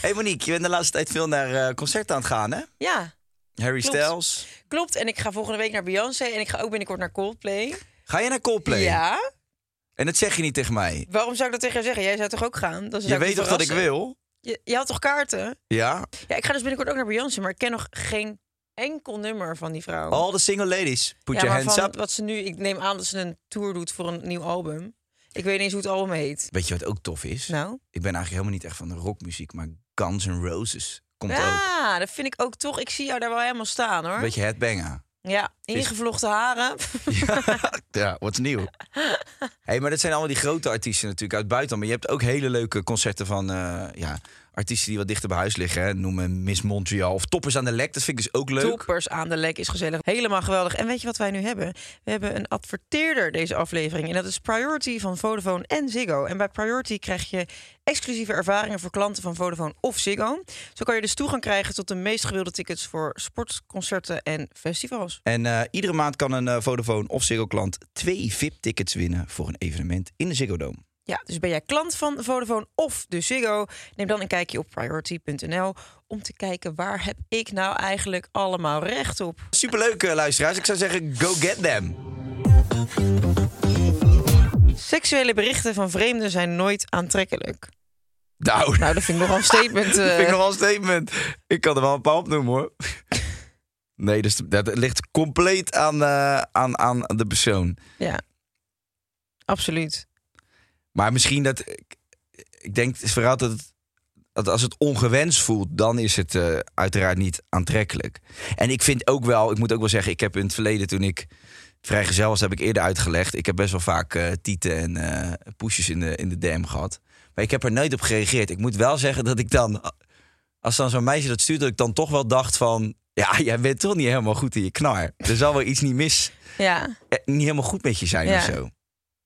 [SPEAKER 5] Hey Monique, je bent de laatste tijd veel naar eh, concerten aan het gaan, hè?
[SPEAKER 3] Ja,
[SPEAKER 5] Harry
[SPEAKER 3] Klopt.
[SPEAKER 5] Styles.
[SPEAKER 3] klopt. En ik ga volgende week naar Beyoncé en ik ga ook binnenkort naar Coldplay.
[SPEAKER 5] Ga je naar Coldplay?
[SPEAKER 3] Ja.
[SPEAKER 5] En dat zeg je niet tegen mij.
[SPEAKER 3] Waarom zou ik dat tegen jou zeggen? Jij zou toch ook gaan? Dan zou
[SPEAKER 5] Je
[SPEAKER 3] ik
[SPEAKER 5] weet toch dat ik
[SPEAKER 3] verrassen.
[SPEAKER 5] wil?
[SPEAKER 3] Je, je had toch kaarten?
[SPEAKER 5] Ja.
[SPEAKER 3] Ja, ik ga dus binnenkort ook naar Beyoncé, maar ik ken nog geen enkel nummer van die vrouw.
[SPEAKER 5] All the single ladies, Oh, put
[SPEAKER 3] ja,
[SPEAKER 5] your
[SPEAKER 3] maar
[SPEAKER 5] hands
[SPEAKER 3] van
[SPEAKER 5] up.
[SPEAKER 3] wat ze nu... Ik neem aan dat ze een tour doet voor een nieuw album. Ik weet niet eens hoe het album heet.
[SPEAKER 5] Weet je wat ook tof is?
[SPEAKER 3] Nou?
[SPEAKER 5] Ik ben eigenlijk helemaal niet echt van de rockmuziek, maar Guns N' Roses komt
[SPEAKER 3] Ah.
[SPEAKER 5] ook.
[SPEAKER 3] Ja, dat vind ik ook toch. Ik zie jou daar wel helemaal staan, hoor.
[SPEAKER 5] Een beetje headbanger.
[SPEAKER 3] Ja, ingevlochten haren.
[SPEAKER 5] Ja, wat nieuw. hey, maar dat zijn allemaal die grote artiesten natuurlijk uit het buitenland. Maar je hebt ook hele leuke concerten van eh, ja, artiesten die wat dichter bij huis liggen. Hè. Noemen Miss Montreal of Toppers aan de Lek. Dat vind ik dus ook leuk.
[SPEAKER 3] Toppers aan de lek is gezellig. Helemaal geweldig. En weet je wat wij nu hebben? We hebben een adverteerder deze aflevering. En dat is Priority van Vodafone en Ziggo. En bij Priority krijg je exclusieve ervaringen voor klanten van Vodafone of Ziggo. Zo kan je dus toegang krijgen tot de meest gewilde tickets voor sportconcerten en festivals.
[SPEAKER 5] En eh, iedere maand kan een eh, Vodafone of Ziggo klant twee VIP-tickets winnen voor een evenement in de Ziggo Dome.
[SPEAKER 3] Ja, dus ben jij klant van Vodafone of de Ziggo? Neem dan een kijkje op priority.nl om te kijken waar heb ik nou eigenlijk allemaal recht op.
[SPEAKER 5] Superleuk eh, luisteraars. Ik zou zeggen, go get them.
[SPEAKER 3] Seksuele berichten van vreemden zijn nooit aantrekkelijk.
[SPEAKER 5] Nou,
[SPEAKER 3] Nou, dat vind ik nogal een statement. eh.
[SPEAKER 5] vind ik nogal een statement. Ik kan er wel een paar opnoemen hoor. Nee, dus dat ligt compleet aan, eh, aan, aan de persoon.
[SPEAKER 3] Ja, absoluut.
[SPEAKER 5] Maar misschien dat. ik- Ik denk vooral dat, het- dat als het ongewenst voelt, dan is het eh, uiteraard niet aantrekkelijk. En ik vind ook wel, ik moet ook wel zeggen, ik heb in het verleden toen ik vrijgezel was, heb ik eerder uitgelegd. Ik heb best wel vaak eh, tieten en eh poesjes in de, in de DM gehad. Maar ik heb er nooit op gereageerd. Ik moet wel zeggen dat ik dan, als dan zo'n meisje dat stuurt, dat ik dan toch wel dacht van. Ja, jij bent toch niet helemaal goed in je knar. Er zal wel iets niet mis,
[SPEAKER 3] Ja.
[SPEAKER 5] eh, niet helemaal goed met je zijn
[SPEAKER 3] Ja.
[SPEAKER 5] of zo.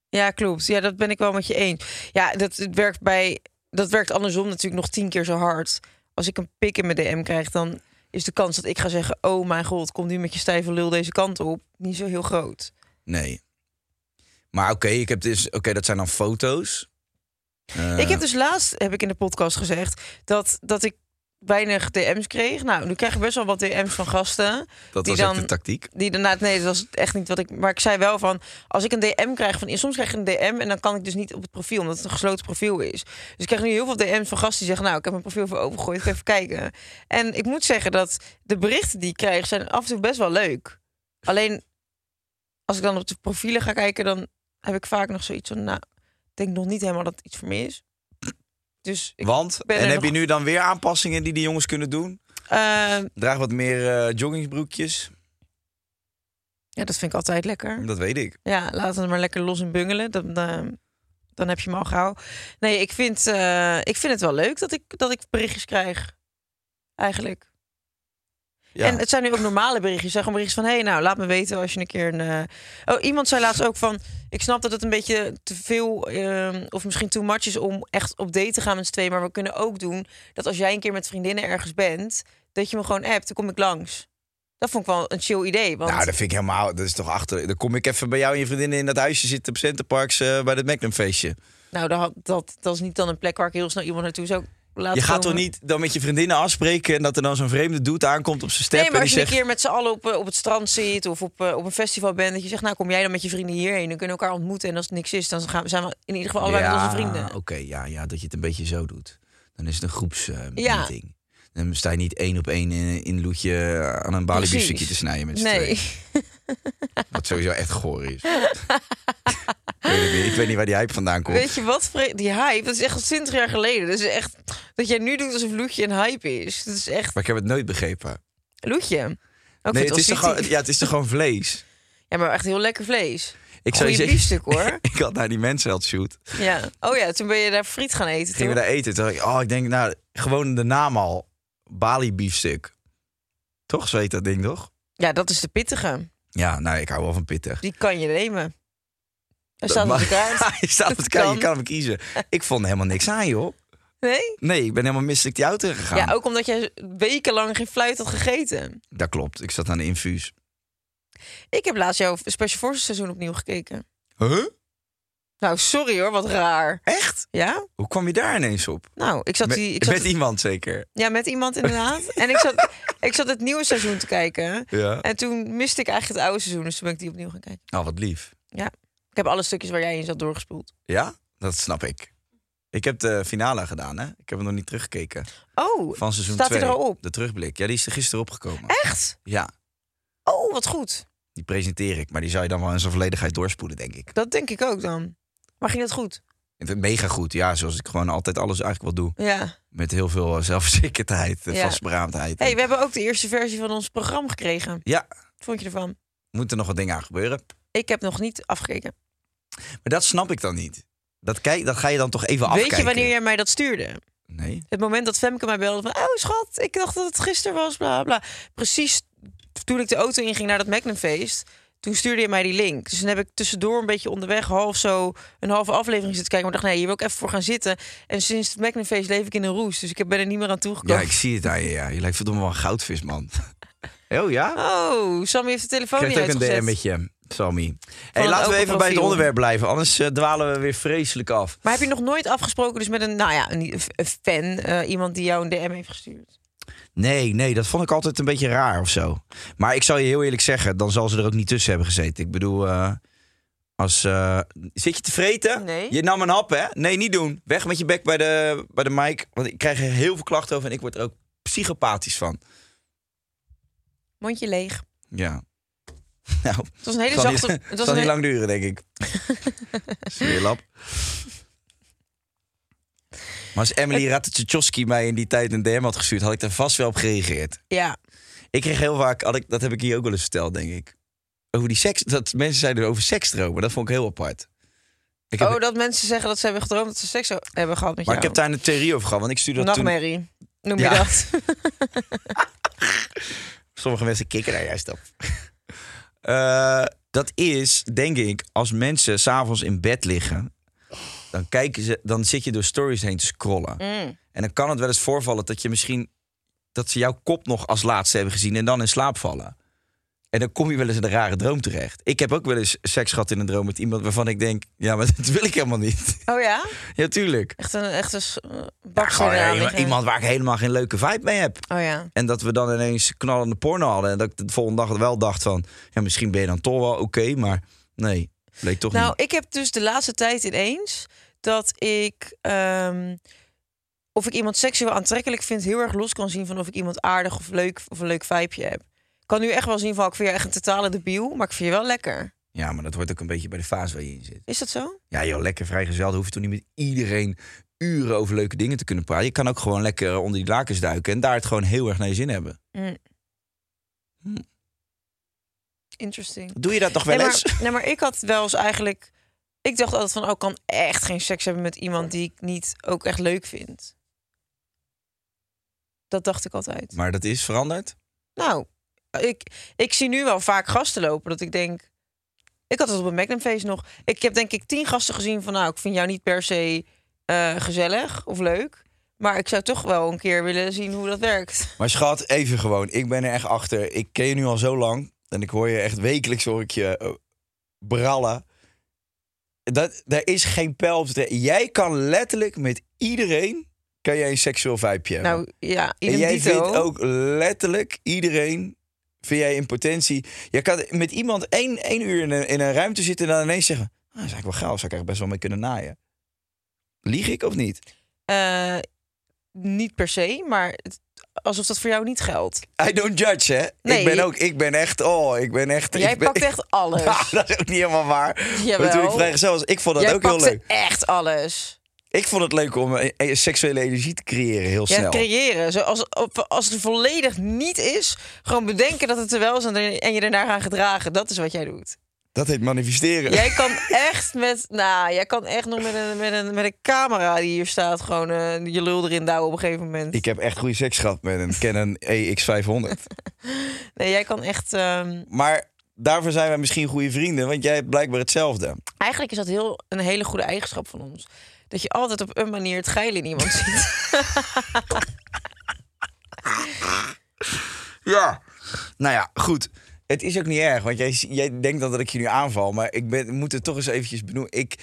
[SPEAKER 3] ja, klopt. Ja, dat ben ik wel met je eens. Ja, dat het werkt bij dat werkt andersom natuurlijk nog tien keer zo hard. Als ik een pik in mijn DM krijg, dan is de kans dat ik ga zeggen... oh mijn god, kom nu met je stijve lul deze kant op, niet zo heel groot.
[SPEAKER 5] Nee. Maar oké, ik heb dus, oké, dat zijn dan foto's. Eh,
[SPEAKER 3] Ik heb dus laatst, heb ik in de podcast gezegd, dat, dat ik weinig DM's kreeg. Nou, nu krijg ik best wel wat DM's van gasten.
[SPEAKER 5] dat
[SPEAKER 3] die
[SPEAKER 5] was echt
[SPEAKER 3] dan-
[SPEAKER 5] de tactiek.
[SPEAKER 3] Die daarna, nee, dat was echt niet wat ik. Maar ik zei wel van, als ik een DM krijg van, soms krijg ik een DM en dan kan ik dus niet op het profiel, omdat het een gesloten profiel is. Dus ik krijg nu heel veel DM's van gasten die zeggen, nou, ik heb mijn profiel voor opengegooid, ik ga even kijken. En ik moet zeggen dat de berichten die ik krijg zijn af en toe best wel leuk. Alleen als ik dan op de profielen ga kijken, dan heb ik vaak nog zoiets van, nou, ik denk nog niet helemaal dat het iets voor me is. Dus ik,
[SPEAKER 5] Want,
[SPEAKER 3] ben
[SPEAKER 5] en
[SPEAKER 3] er
[SPEAKER 5] heb
[SPEAKER 3] nog-
[SPEAKER 5] je nu dan weer aanpassingen die die jongens kunnen doen?
[SPEAKER 3] eh,
[SPEAKER 5] Draag wat meer eh joggingsbroekjes.
[SPEAKER 3] ja, dat vind ik altijd lekker.
[SPEAKER 5] Dat weet ik.
[SPEAKER 3] Ja, laten we er maar lekker los in bungelen. Dan, eh, dan heb je me al gauw. Nee, ik vind, eh, ik vind het wel leuk dat ik, dat ik berichtjes krijg. Eigenlijk.
[SPEAKER 5] Ja.
[SPEAKER 3] En het zijn nu ook normale berichtjes. Zeg gewoon berichtjes van... hé, hey, nou, laat me weten als je een keer een... eh, Oh, iemand zei laatst ook van... ik snap dat het een beetje te veel... ehm, of misschien too much is om echt op date te gaan met z'n tweeën... maar we kunnen ook doen dat als jij een keer met vriendinnen ergens bent... dat je me gewoon appt, dan kom ik langs. Dat vond ik wel een chill idee. Want...
[SPEAKER 5] Nou, dat vind ik helemaal. Dat is toch achter. Dan kom ik even bij jou en je vriendinnen in dat huisje zitten op Centerparks eh, bij het Magnum feestje.
[SPEAKER 3] Nou, dat, had- dat, dat is niet dan een plek waar ik heel snel iemand naartoe zou laten
[SPEAKER 5] Je gaat
[SPEAKER 3] komen.
[SPEAKER 5] toch niet dan met je vriendinnen afspreken en dat er dan zo'n vreemde dude aankomt op zijn step
[SPEAKER 3] Nee, maar
[SPEAKER 5] en
[SPEAKER 3] als
[SPEAKER 5] die
[SPEAKER 3] je een
[SPEAKER 5] zegt.
[SPEAKER 3] keer met z'n allen op, eh, op het strand zit of op, eh, op een festival bent... dat je zegt, nou kom jij dan met je vrienden hierheen. Dan kunnen we elkaar ontmoeten en als het niks is... dan gaan, we- zijn we in ieder geval allebei met onze vrienden.
[SPEAKER 5] Oké, ja, ja, dat je het een beetje zo doet. Dan is het een
[SPEAKER 3] Ja.
[SPEAKER 5] groepsmeeting. Dan sta je niet één op één in, in Loetje eh, aan een
[SPEAKER 3] Precies.
[SPEAKER 5] balibiefstukje te snijden met z'n tweeën.
[SPEAKER 3] Nee,
[SPEAKER 5] Wat sowieso echt goor is. ik, weet het niet, ik weet niet waar die hype vandaan komt.
[SPEAKER 3] weet je wat? Fre- Die hype, dat is echt al 20 jaar geleden. Dat is echt dat jij nu doet alsof Loetje een hype is. Dat is echt...
[SPEAKER 5] Maar ik heb het nooit
[SPEAKER 3] Oh,
[SPEAKER 5] begrepen.
[SPEAKER 3] Loetje. Ook
[SPEAKER 5] nee,
[SPEAKER 3] goed,
[SPEAKER 5] het is, toch
[SPEAKER 3] al
[SPEAKER 5] gewoon, ja, het is toch gewoon vlees?
[SPEAKER 3] Ja, maar echt heel lekker vlees.
[SPEAKER 5] Ik
[SPEAKER 3] Goeie
[SPEAKER 5] je
[SPEAKER 3] biefstuk, hoor.
[SPEAKER 5] ik had naar die mensen had shoot.
[SPEAKER 3] Ja. Oh ja, toen ben je daar friet gaan eten,
[SPEAKER 5] Gingen we
[SPEAKER 3] toch?
[SPEAKER 5] daar eten. Toen dacht ik, oh, ik denk, nou, gewoon de naam al. Bali biefstuk. Toch, zo heet dat ding, toch?
[SPEAKER 3] Ja, dat is de pittige.
[SPEAKER 5] Ja, nou, ik hou wel van pittig.
[SPEAKER 3] Die kan je nemen. Er
[SPEAKER 5] Dat
[SPEAKER 3] staat op
[SPEAKER 5] mag-
[SPEAKER 3] de kaart.
[SPEAKER 5] Hij staat op de
[SPEAKER 3] Dat
[SPEAKER 5] kaart,
[SPEAKER 3] kan.
[SPEAKER 5] je kan hem kiezen. Ik vond helemaal niks aan, joh.
[SPEAKER 3] Nee?
[SPEAKER 5] Nee, ik ben helemaal misselijk die auto gegaan.
[SPEAKER 3] Ja, ook omdat jij wekenlang geen fluit had gegeten.
[SPEAKER 5] Dat klopt, ik zat aan de infuus.
[SPEAKER 3] Ik heb laatst jouw Special Forces seizoen opnieuw gekeken.
[SPEAKER 5] Huh?
[SPEAKER 3] Nou, sorry hoor, wat raar.
[SPEAKER 5] Echt?
[SPEAKER 3] Ja?
[SPEAKER 5] Hoe kwam je daar ineens op?
[SPEAKER 3] Nou, ik zat,
[SPEAKER 5] Met,
[SPEAKER 3] die, ik zat
[SPEAKER 5] met iemand zeker?
[SPEAKER 3] Ja, met iemand inderdaad. en ik zat, ik zat het nieuwe seizoen te kijken.
[SPEAKER 5] Ja.
[SPEAKER 3] En toen miste ik eigenlijk het oude seizoen, dus toen ben ik die opnieuw gaan kijken.
[SPEAKER 5] Nou, wat lief.
[SPEAKER 3] Ik heb alle stukjes waar jij in zat doorgespoeld.
[SPEAKER 5] Ja, dat snap ik. Ik heb de finale gedaan, hè? Ik heb hem nog niet teruggekeken.
[SPEAKER 3] Oh,
[SPEAKER 5] Van seizoen
[SPEAKER 3] Staat hij
[SPEAKER 5] 2.
[SPEAKER 3] er al op?
[SPEAKER 5] De terugblik. Ja, die is er gisteren opgekomen.
[SPEAKER 3] echt?
[SPEAKER 5] Ja,
[SPEAKER 3] Oh, wat goed.
[SPEAKER 5] die presenteer ik. Maar die zou je dan wel in zijn volledigheid doorspoelen, denk ik.
[SPEAKER 3] Dat denk ik ook dan. Maar ging dat goed?
[SPEAKER 5] Ik vind het Mega goed, ja. Zoals ik gewoon altijd alles eigenlijk wel doe.
[SPEAKER 3] Ja.
[SPEAKER 5] Met heel veel eh, zelfverzekerdheid, en
[SPEAKER 3] Ja.
[SPEAKER 5] vastberaamdheid.
[SPEAKER 3] hey, we hebben ook de eerste versie van ons programma gekregen.
[SPEAKER 5] Ja,
[SPEAKER 3] Wat vond je ervan?
[SPEAKER 5] moeten nog wat dingen aan gebeuren.
[SPEAKER 3] Ik heb nog niet afgekeken.
[SPEAKER 5] Maar dat snap ik dan niet. Dat, kijk, dat ga je dan toch even afkijken.
[SPEAKER 3] Weet je wanneer jij mij dat stuurde?
[SPEAKER 5] Nee.
[SPEAKER 3] Het moment dat Femke mij belde van... Oh schat, ik dacht dat het gisteren was, bla bla. Precies toen ik de auto inging naar dat Magnumfeest... Toen stuurde je mij die link. Dus dan heb ik tussendoor een beetje onderweg half zo een halve aflevering zitten kijken. Maar ik dacht, nee, hier wil ik even voor gaan zitten. En sinds het Magnumfeest leef ik in een roes. Dus ik ben er niet meer aan
[SPEAKER 5] Ja,
[SPEAKER 3] toegekomen.
[SPEAKER 5] ik zie het aan je. Ja. Je lijkt verdomme wel een goudvis, man. Oh ja?
[SPEAKER 3] Oh, Sammy heeft de telefoon
[SPEAKER 5] Krijgt
[SPEAKER 3] niet
[SPEAKER 5] ook een
[SPEAKER 3] uitgezet.
[SPEAKER 5] DM met je, Sammy. Hey,
[SPEAKER 3] een
[SPEAKER 5] laten we
[SPEAKER 3] open
[SPEAKER 5] even bij het
[SPEAKER 3] profiel.
[SPEAKER 5] onderwerp blijven. Anders eh, dwalen we weer vreselijk af.
[SPEAKER 3] Maar heb je nog nooit afgesproken dus met een, nou ja, een, een fan? eh, iemand die jou een DM heeft gestuurd?
[SPEAKER 5] Nee, nee, dat vond ik altijd een beetje raar of zo. Maar ik zal je heel eerlijk zeggen, dan zal ze er ook niet tussen hebben gezeten. Ik bedoel, eh, als... eh, zit je te vreten?
[SPEAKER 3] Nee.
[SPEAKER 5] Je nam een hap, hè? Nee, niet doen. Weg met je bek bij de, bij de mic. Want ik krijg er heel veel klachten over en ik word er ook psychopathisch van.
[SPEAKER 3] Mondje leeg.
[SPEAKER 5] Ja. Nou,
[SPEAKER 3] Het was een hele
[SPEAKER 5] het zal niet,
[SPEAKER 3] zachte...
[SPEAKER 5] het
[SPEAKER 3] Het was
[SPEAKER 5] zal
[SPEAKER 3] een
[SPEAKER 5] niet
[SPEAKER 3] he-
[SPEAKER 5] lang duren, denk ik. Smeerlap. Maar als Emily Ratajkowski mij in die tijd een DM had gestuurd, had ik daar vast wel op gereageerd.
[SPEAKER 3] Ja,
[SPEAKER 5] Ik kreeg heel vaak, had ik, dat heb ik hier ook wel eens verteld, denk ik. Over die seks, dat mensen zeiden over seksdromen. Dat vond ik heel apart. Ik heb,
[SPEAKER 3] oh, dat mensen zeggen dat ze hebben gedroomd dat ze seks zo- hebben gehad met
[SPEAKER 5] maar ik
[SPEAKER 3] jou.
[SPEAKER 5] heb daar een theorie over gehad. Want ik stuurde dat toen...
[SPEAKER 3] Nachtmerrie, noem
[SPEAKER 5] Ja.
[SPEAKER 3] je dat?
[SPEAKER 5] Sommige mensen kikken daar juist op. Eh, dat is, denk ik, als mensen s'avonds in bed liggen... dan, kijken ze, dan zit je door stories heen te scrollen.
[SPEAKER 3] Mm.
[SPEAKER 5] En dan kan het wel eens voorvallen dat je misschien dat ze jouw kop nog als laatste hebben gezien en dan in slaap vallen. En dan kom je wel eens in een rare droom terecht. Ik heb ook wel eens seks gehad in een droom met iemand waarvan ik denk, ja, maar dat wil ik helemaal niet.
[SPEAKER 3] Oh ja?
[SPEAKER 5] Ja, tuurlijk.
[SPEAKER 3] Echt een, echt een s- eh,
[SPEAKER 5] Ja,
[SPEAKER 3] baksteen
[SPEAKER 5] gewoon
[SPEAKER 3] eraan
[SPEAKER 5] eh,
[SPEAKER 3] liggen.
[SPEAKER 5] iemand waar ik helemaal geen leuke vibe mee heb.
[SPEAKER 3] Oh ja.
[SPEAKER 5] En dat we dan ineens knallende porno hadden. En dat ik de volgende dag wel dacht van... Ja, misschien ben je dan toch wel oké, maar nee, bleek toch
[SPEAKER 3] nou,
[SPEAKER 5] niet.
[SPEAKER 3] ik heb dus de laatste tijd ineens dat ik. ehm, of ik iemand seksueel aantrekkelijk vind, heel erg los kan zien van of ik iemand aardig of leuk of een leuk vijpje heb. Ik kan nu echt wel zien van ik vind je echt een totale debiel, maar ik vind je wel lekker.
[SPEAKER 5] Ja, maar dat hoort ook een beetje bij de fase waar je in zit.
[SPEAKER 3] Is dat zo?
[SPEAKER 5] Ja joh, lekker vrijgezel. Dan hoef je toch niet met iedereen uren over leuke dingen te kunnen praten. Je kan ook gewoon lekker onder die lakens duiken... en daar het gewoon heel erg naar je zin hebben.
[SPEAKER 3] Interesting.
[SPEAKER 5] Doe je dat nog wel
[SPEAKER 3] nee,
[SPEAKER 5] eens?
[SPEAKER 3] maar, nee, maar ik had wel eens eigenlijk. Ik dacht altijd van, oh, ik kan echt geen seks hebben met iemand die ik niet ook echt leuk vind. Dat dacht ik altijd.
[SPEAKER 5] Maar dat is veranderd.
[SPEAKER 3] Nou, ik, ik zie nu wel vaak gasten lopen dat ik denk. Ik had het op een Magnumfeest nog. Ik heb denk ik tien gasten gezien van, nou, ik vind jou niet per se eh, gezellig of leuk. Maar ik zou toch wel een keer willen zien hoe dat werkt.
[SPEAKER 5] Maar schat, even gewoon. Ik ben er echt achter. Ik ken je nu al zo lang. En ik hoor je echt wekelijks hoor ik je eh, brallen. Dat, daar is geen pijl op te trekken. Jij kan letterlijk met iedereen... kan jij een seksueel vibeje hebben.
[SPEAKER 3] Nou ja,
[SPEAKER 5] en
[SPEAKER 3] idem
[SPEAKER 5] jij
[SPEAKER 3] dito.
[SPEAKER 5] vindt ook letterlijk iedereen... vind jij in potentie... Je kan met iemand één, één uur in een, in een ruimte zitten... en dan ineens zeggen... Ah, dat is eigenlijk wel gaaf. Zou ik eigenlijk best wel mee kunnen naaien. Lieg ik of niet?
[SPEAKER 3] Eh, niet per se, maar het- alsof dat voor jou niet geldt.
[SPEAKER 5] I don't judge, hè?
[SPEAKER 3] Nee.
[SPEAKER 5] Ik ben ook... Ik ben echt... Oh, ik ben echt...
[SPEAKER 3] Jij
[SPEAKER 5] ik ben-
[SPEAKER 3] pakt echt alles.
[SPEAKER 5] Ja, dat is ook niet helemaal waar.
[SPEAKER 3] Jawel.
[SPEAKER 5] Maar toen ik vrijgezel was, ik vond dat
[SPEAKER 3] Jij
[SPEAKER 5] ook heel
[SPEAKER 3] pakte
[SPEAKER 5] leuk.
[SPEAKER 3] echt alles.
[SPEAKER 5] Ik vond het leuk om eh, eh, seksuele energie te creëren heel
[SPEAKER 3] Ja,
[SPEAKER 5] snel.
[SPEAKER 3] creëren. Zo als, op- als het volledig niet is, gewoon bedenken dat het er wel is en, er- en je ernaar gaan gedragen. Dat is wat jij doet.
[SPEAKER 5] Dat heet manifesteren.
[SPEAKER 3] Jij kan echt met, nou, jij kan echt nog met een, met een, met een camera die hier staat, gewoon eh, je lul erin duwen op een gegeven moment.
[SPEAKER 5] Ik heb echt goede seks gehad met een Canon E EX500.
[SPEAKER 3] Nee, jij kan echt. ehm,
[SPEAKER 5] Maar daarvoor zijn wij misschien goede vrienden, want jij hebt blijkbaar hetzelfde.
[SPEAKER 3] eigenlijk is dat heel, een hele goede eigenschap van ons. Dat je altijd op een manier het geil in iemand ziet.
[SPEAKER 5] Ja. Nou ja, goed. Het is ook niet erg, want jij, jij denkt dan dat ik je nu aanval. Maar ik ben, moet het toch eens eventjes benoemen. Ik,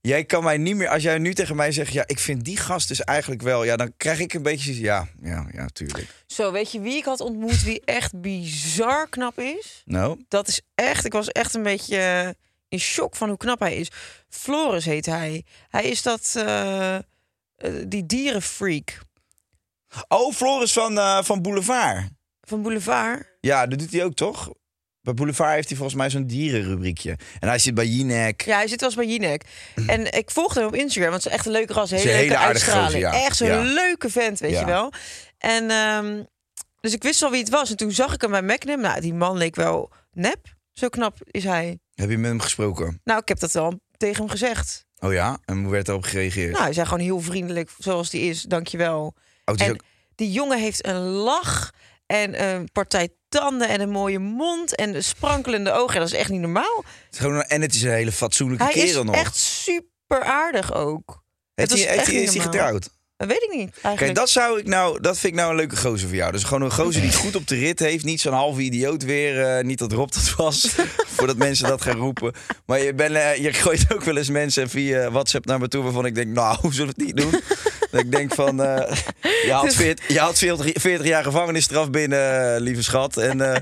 [SPEAKER 5] jij kan mij niet meer... Als jij nu tegen mij zegt, ja, ik vind die gast dus eigenlijk wel... Ja, dan krijg ik een beetje... zoiets, Ja, ja, ja, tuurlijk.
[SPEAKER 3] Zo, weet je wie ik had ontmoet die echt bizar knap is?
[SPEAKER 5] Nou,
[SPEAKER 3] Dat is echt, ik was echt een beetje eh, in shock van hoe knap hij is. Floris heet hij. Hij is dat, eh, eh, die dierenfreak
[SPEAKER 5] Oh, Floris van, eh, van Boulevard.
[SPEAKER 3] van Boulevard.
[SPEAKER 5] Ja, dat doet hij ook toch? Bij Boulevard heeft hij volgens mij zo'n dierenrubriekje. En hij zit bij Jinek.
[SPEAKER 3] Ja, hij zit wel eens bij Jinek. En ik volgde hem op Instagram, want ze is echt een leuke ras. Hele,
[SPEAKER 5] Mhm. Ze is een
[SPEAKER 3] leuke
[SPEAKER 5] hele aardige
[SPEAKER 3] uitstraling.
[SPEAKER 5] gozer, ja.
[SPEAKER 3] Echt zo'n
[SPEAKER 5] Ja.
[SPEAKER 3] leuke vent, weet
[SPEAKER 5] Ja.
[SPEAKER 3] je wel. En ehm, dus ik wist al wie het was. En toen zag ik hem bij Magnum. Nou, die man leek wel nep. Zo knap is hij.
[SPEAKER 5] Heb je met hem gesproken?
[SPEAKER 3] Nou, ik heb dat wel tegen hem gezegd.
[SPEAKER 5] Oh ja? En hoe werd daarop gereageerd?
[SPEAKER 3] Nou, hij zei gewoon heel vriendelijk, zoals die is. Dankjewel.
[SPEAKER 5] oh, het is
[SPEAKER 3] en-
[SPEAKER 5] ook-
[SPEAKER 3] Die jongen heeft een lach en een partij tanden en een mooie mond en sprankelende ogen. Dat is echt niet normaal.
[SPEAKER 5] het is gewoon, en het is een hele fatsoenlijke
[SPEAKER 3] Hij is
[SPEAKER 5] kerel nog.
[SPEAKER 3] echt super aardig ook.
[SPEAKER 5] heeft
[SPEAKER 3] het
[SPEAKER 5] hij,
[SPEAKER 3] was
[SPEAKER 5] heeft
[SPEAKER 3] echt
[SPEAKER 5] hij,
[SPEAKER 3] niet
[SPEAKER 5] is hij
[SPEAKER 3] normaal.
[SPEAKER 5] getrouwd?
[SPEAKER 3] Dat weet ik niet
[SPEAKER 5] Kijk,
[SPEAKER 3] eigenlijk.
[SPEAKER 5] dat, zou ik nou, dat vind ik nou een leuke gozer voor jou. Dus gewoon een gozer die het goed op de rit heeft. Niet zo'n halve idioot weer. eh, niet dat Rob dat was. voordat mensen dat gaan roepen. Maar je, ben, eh, je gooit ook wel eens mensen via WhatsApp naar me toe. Waarvan ik denk, nou, hoe zullen we het niet doen? dat ik denk van, eh, je
[SPEAKER 3] Dus-
[SPEAKER 5] had, 40, je had 40, 40 jaar gevangenisstraf binnen, eh, lieve schat. En eh,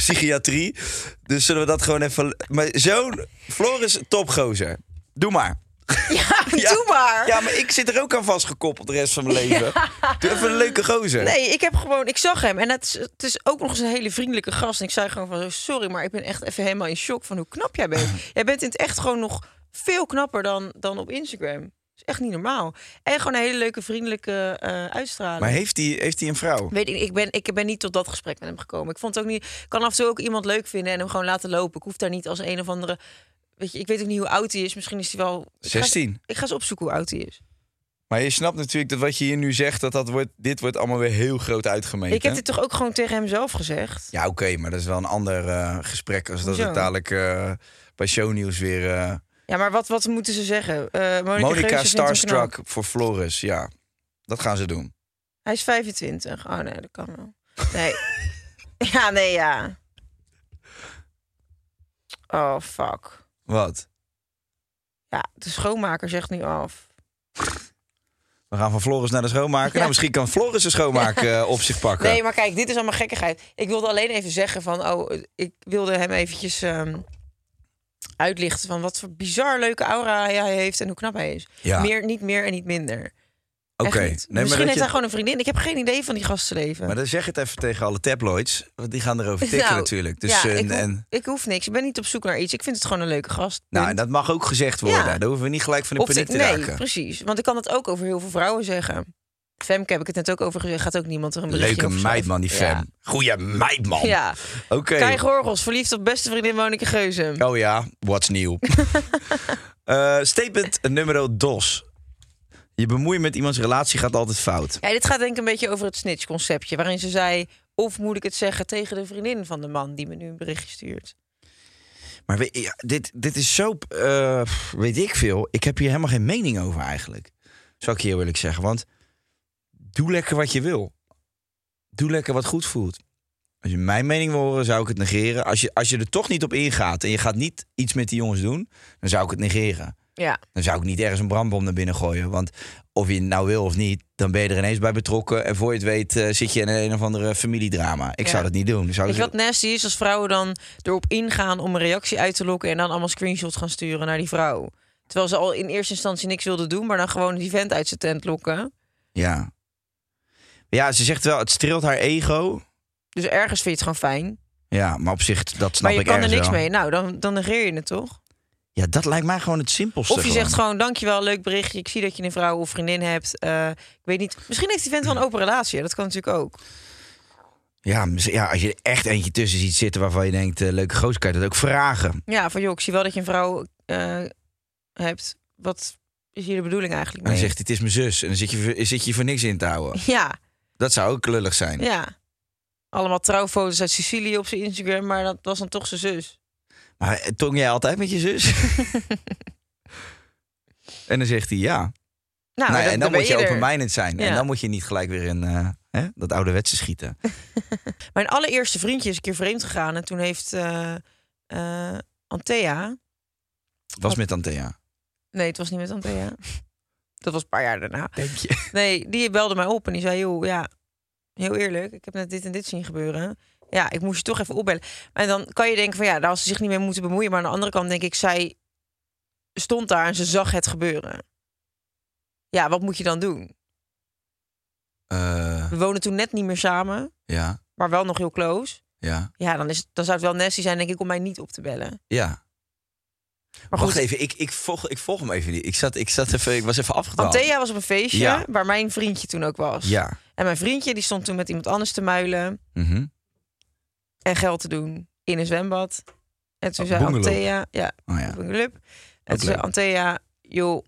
[SPEAKER 5] psychiatrie. Dus zullen we dat gewoon even... Maar zo'n Floris topgozer. Doe maar.
[SPEAKER 3] Ja, doe maar.
[SPEAKER 5] Ja, maar ik zit er ook aan vastgekoppeld de rest van mijn leven. Doe even een leuke gozer.
[SPEAKER 3] Nee, ik heb gewoon, ik zag hem en het is, het is ook nog eens een hele vriendelijke gast. En ik zei gewoon van, sorry, maar ik ben echt even helemaal in shock van hoe knap jij bent. jij bent in het echt gewoon nog veel knapper dan, dan op Instagram. Dat is echt niet normaal. En gewoon een hele leuke vriendelijke eh, uitstraling.
[SPEAKER 5] Maar heeft hij heeft die een vrouw?
[SPEAKER 3] Weet ik, ik, ben, ik ben niet tot dat gesprek met hem gekomen. Ik vond het ook niet. Ik kan af en toe ook iemand leuk vinden en hem gewoon laten lopen. Ik hoef daar niet als een of andere. Weet je, ik weet ook niet hoe oud hij is. Misschien is hij wel. Ik ga-
[SPEAKER 5] 16.
[SPEAKER 3] Ik ga eens opzoeken hoe oud hij is.
[SPEAKER 5] Maar je snapt natuurlijk dat wat je hier nu zegt, dat, dat wordt, dit wordt allemaal weer heel groot uitgemeten.
[SPEAKER 3] Ik heb dit toch ook gewoon tegen hem zelf gezegd.
[SPEAKER 5] Ja, oké, maar dat is wel een ander eh, gesprek als dat
[SPEAKER 3] Hoezo?
[SPEAKER 5] het dadelijk eh, bij shownieuws weer... eh,
[SPEAKER 3] Ja, Ja, maar wat, wat moeten ze zeggen? Eh Monica, Geuze
[SPEAKER 5] Monica
[SPEAKER 3] vindt hem knap.
[SPEAKER 5] Starstruck voor Floris, ja. Dat gaan ze doen.
[SPEAKER 3] Hij is 25. Oh nee, dat kan wel. Nee. ja, nee, ja. Oh, fuck.
[SPEAKER 5] Wat?
[SPEAKER 3] Ja, de schoonmaker zegt nu af.
[SPEAKER 5] We gaan van Floris naar de schoonmaker. Nou, misschien kan Floris de schoonmaker eh, op zich pakken.
[SPEAKER 3] Nee, maar kijk, dit is allemaal gekkigheid. Ik wilde alleen even zeggen van... Oh, ik wilde hem eventjes ehm, uitlichten van wat voor bizar leuke aura hij heeft en hoe knap hij is.
[SPEAKER 5] ja,
[SPEAKER 3] Meer, niet meer en niet minder.
[SPEAKER 5] oké.
[SPEAKER 3] Echt niet.
[SPEAKER 5] Nee, maar,
[SPEAKER 3] Misschien
[SPEAKER 5] dat
[SPEAKER 3] heeft
[SPEAKER 5] je-
[SPEAKER 3] hij gewoon een vriendin. Ik heb geen idee van die gastenleven.
[SPEAKER 5] maar dan zeg het even tegen alle tabloids. Want die gaan erover tikken
[SPEAKER 3] Nou,
[SPEAKER 5] natuurlijk. Dus,
[SPEAKER 3] ja,
[SPEAKER 5] eh,
[SPEAKER 3] ik,
[SPEAKER 5] en,
[SPEAKER 3] hoef,
[SPEAKER 5] en-
[SPEAKER 3] ik hoef niks. Ik ben niet op zoek naar iets. Ik vind het gewoon een leuke gast.
[SPEAKER 5] nou, en
[SPEAKER 3] Punt.
[SPEAKER 5] dat mag ook gezegd worden.
[SPEAKER 3] Ja.
[SPEAKER 5] Daar hoeven we niet gelijk van de
[SPEAKER 3] Of
[SPEAKER 5] paniek
[SPEAKER 3] dit-
[SPEAKER 5] te
[SPEAKER 3] nee,
[SPEAKER 5] raken.
[SPEAKER 3] precies. Want ik kan het ook over heel veel vrouwen zeggen. Femke heb ik het net ook over gezegd. Gaat ook niemand er een berichtje
[SPEAKER 5] Leuke
[SPEAKER 3] of zo.
[SPEAKER 5] meid, man, die fam.
[SPEAKER 3] Ja.
[SPEAKER 5] Goeie meid, man.
[SPEAKER 3] ja.
[SPEAKER 5] Oké.
[SPEAKER 3] Kai Gorgels, verliefd op beste vriendin Monika Geuze.
[SPEAKER 5] Oh ja, what's new? Eh, statement nummer dos. Je bemoeien met iemands relatie gaat altijd fout.
[SPEAKER 3] Ja, dit gaat denk ik een beetje over het snitch-conceptje. Waarin ze zei, of moet ik het zeggen tegen de vriendin van de man... die me nu een berichtje stuurt.
[SPEAKER 5] Maar weet, ja, dit, dit is zo, eh, weet ik veel. Ik heb hier helemaal geen mening over eigenlijk. Zou ik je heel eerlijk zeggen. Want doe lekker wat je wil. Doe lekker wat goed voelt. Als je mijn mening wil horen, zou ik het negeren. Als je, als je er toch niet op ingaat en je gaat niet iets met die jongens doen, dan zou ik het negeren.
[SPEAKER 3] Ja.
[SPEAKER 5] Dan zou ik niet ergens een brandbom naar binnen gooien. Want of je het nou wil of niet, dan ben je er ineens bij betrokken. En voor je het weet eh, zit je in een of andere familiedrama. Ik
[SPEAKER 3] Ja.
[SPEAKER 5] zou dat niet doen. Dan Zou dus
[SPEAKER 3] Weet
[SPEAKER 5] ik
[SPEAKER 3] je wat nasty is? Als vrouwen dan erop ingaan om een reactie uit te lokken... en dan allemaal screenshots gaan sturen naar die vrouw. Terwijl ze al in eerste instantie niks wilden doen... maar dan gewoon die vent uit zijn tent lokken.
[SPEAKER 5] Ja. Ja, ze zegt wel, het streelt haar ego.
[SPEAKER 3] Dus ergens vind je het gewoon fijn.
[SPEAKER 5] Ja, maar op zich, dat snap
[SPEAKER 3] maar je
[SPEAKER 5] ik
[SPEAKER 3] kan er
[SPEAKER 5] ergens
[SPEAKER 3] niks
[SPEAKER 5] wel.
[SPEAKER 3] mee. Nou, dan, dan negeer je het toch?
[SPEAKER 5] Ja, dat lijkt mij gewoon het simpelste.
[SPEAKER 3] Of je zegt gewoon, dankjewel, leuk berichtje. Ik zie dat je een vrouw of vriendin hebt. Eh, ik weet niet. Misschien heeft die vent wel een open relatie. hè. Dat kan natuurlijk ook.
[SPEAKER 5] Ja, mis- ja, als je er echt eentje tussen ziet zitten waarvan je denkt... eh, leuke gozer, kan je dat ook vragen.
[SPEAKER 3] Ja, van joh, ik zie wel dat je een vrouw eh, hebt. Wat is hier de bedoeling eigenlijk
[SPEAKER 5] En
[SPEAKER 3] mee?
[SPEAKER 5] dan zegt hij, het is mijn zus. En dan zit je, voor- zit je voor niks in te houden.
[SPEAKER 3] Ja,
[SPEAKER 5] Dat zou ook lullig zijn.
[SPEAKER 3] ja. Allemaal trouwfoto's uit Sicilië op zijn Instagram, maar dat was dan toch zijn zus.
[SPEAKER 5] Maar eh, tong jij altijd met je zus? en dan zegt hij ja.
[SPEAKER 3] Nou,
[SPEAKER 5] nou, ja,
[SPEAKER 3] dat-
[SPEAKER 5] en
[SPEAKER 3] daar
[SPEAKER 5] dan
[SPEAKER 3] ben
[SPEAKER 5] moet je
[SPEAKER 3] er.
[SPEAKER 5] openminded zijn. En
[SPEAKER 3] Ja.
[SPEAKER 5] dan moet je niet gelijk weer in eh, hè, dat ouderwetse schieten.
[SPEAKER 3] Mijn allereerste vriendje is een keer vreemd gegaan en toen heeft eh, eh, Antea,
[SPEAKER 5] Was met Antea.
[SPEAKER 3] Nee, het was niet met Antea. Dat was een paar jaar daarna.
[SPEAKER 5] Denk je?
[SPEAKER 3] Nee, die belde mij op en die zei: Joh, ja, heel eerlijk, ik heb net dit en dit zien gebeuren. Ja, ik moest je toch even opbellen. En dan kan je denken: van ja, daar had ze zich niet mee moeten bemoeien. Maar aan de andere kant denk ik, zij stond daar en ze zag het gebeuren. Ja, wat moet je dan doen?
[SPEAKER 5] Eh,
[SPEAKER 3] We wonen toen net niet meer samen,
[SPEAKER 5] ja,
[SPEAKER 3] maar wel nog heel close.
[SPEAKER 5] ja.
[SPEAKER 3] Ja, dan, is, dan zou het wel Nessie zijn, denk ik, om mij niet op te bellen.
[SPEAKER 5] Ja.
[SPEAKER 3] Maar
[SPEAKER 5] Wacht
[SPEAKER 3] goed,
[SPEAKER 5] even, ik, ik, volg, ik volg hem even niet. Ik, zat, ik, zat even, ik was even afgedwaald.
[SPEAKER 3] Antea was op een feestje
[SPEAKER 5] Ja.
[SPEAKER 3] waar mijn vriendje toen ook was.
[SPEAKER 5] Ja.
[SPEAKER 3] En mijn vriendje die stond toen met iemand anders te muilen.
[SPEAKER 5] Mhm.
[SPEAKER 3] en geld te doen in een zwembad. En toen
[SPEAKER 5] Oh,
[SPEAKER 3] zei
[SPEAKER 5] bungalow.
[SPEAKER 3] Antea, ja,
[SPEAKER 5] Oh ja.
[SPEAKER 3] op een club. En
[SPEAKER 5] Ook
[SPEAKER 3] toen zei
[SPEAKER 5] leuk.
[SPEAKER 3] Antea, joh,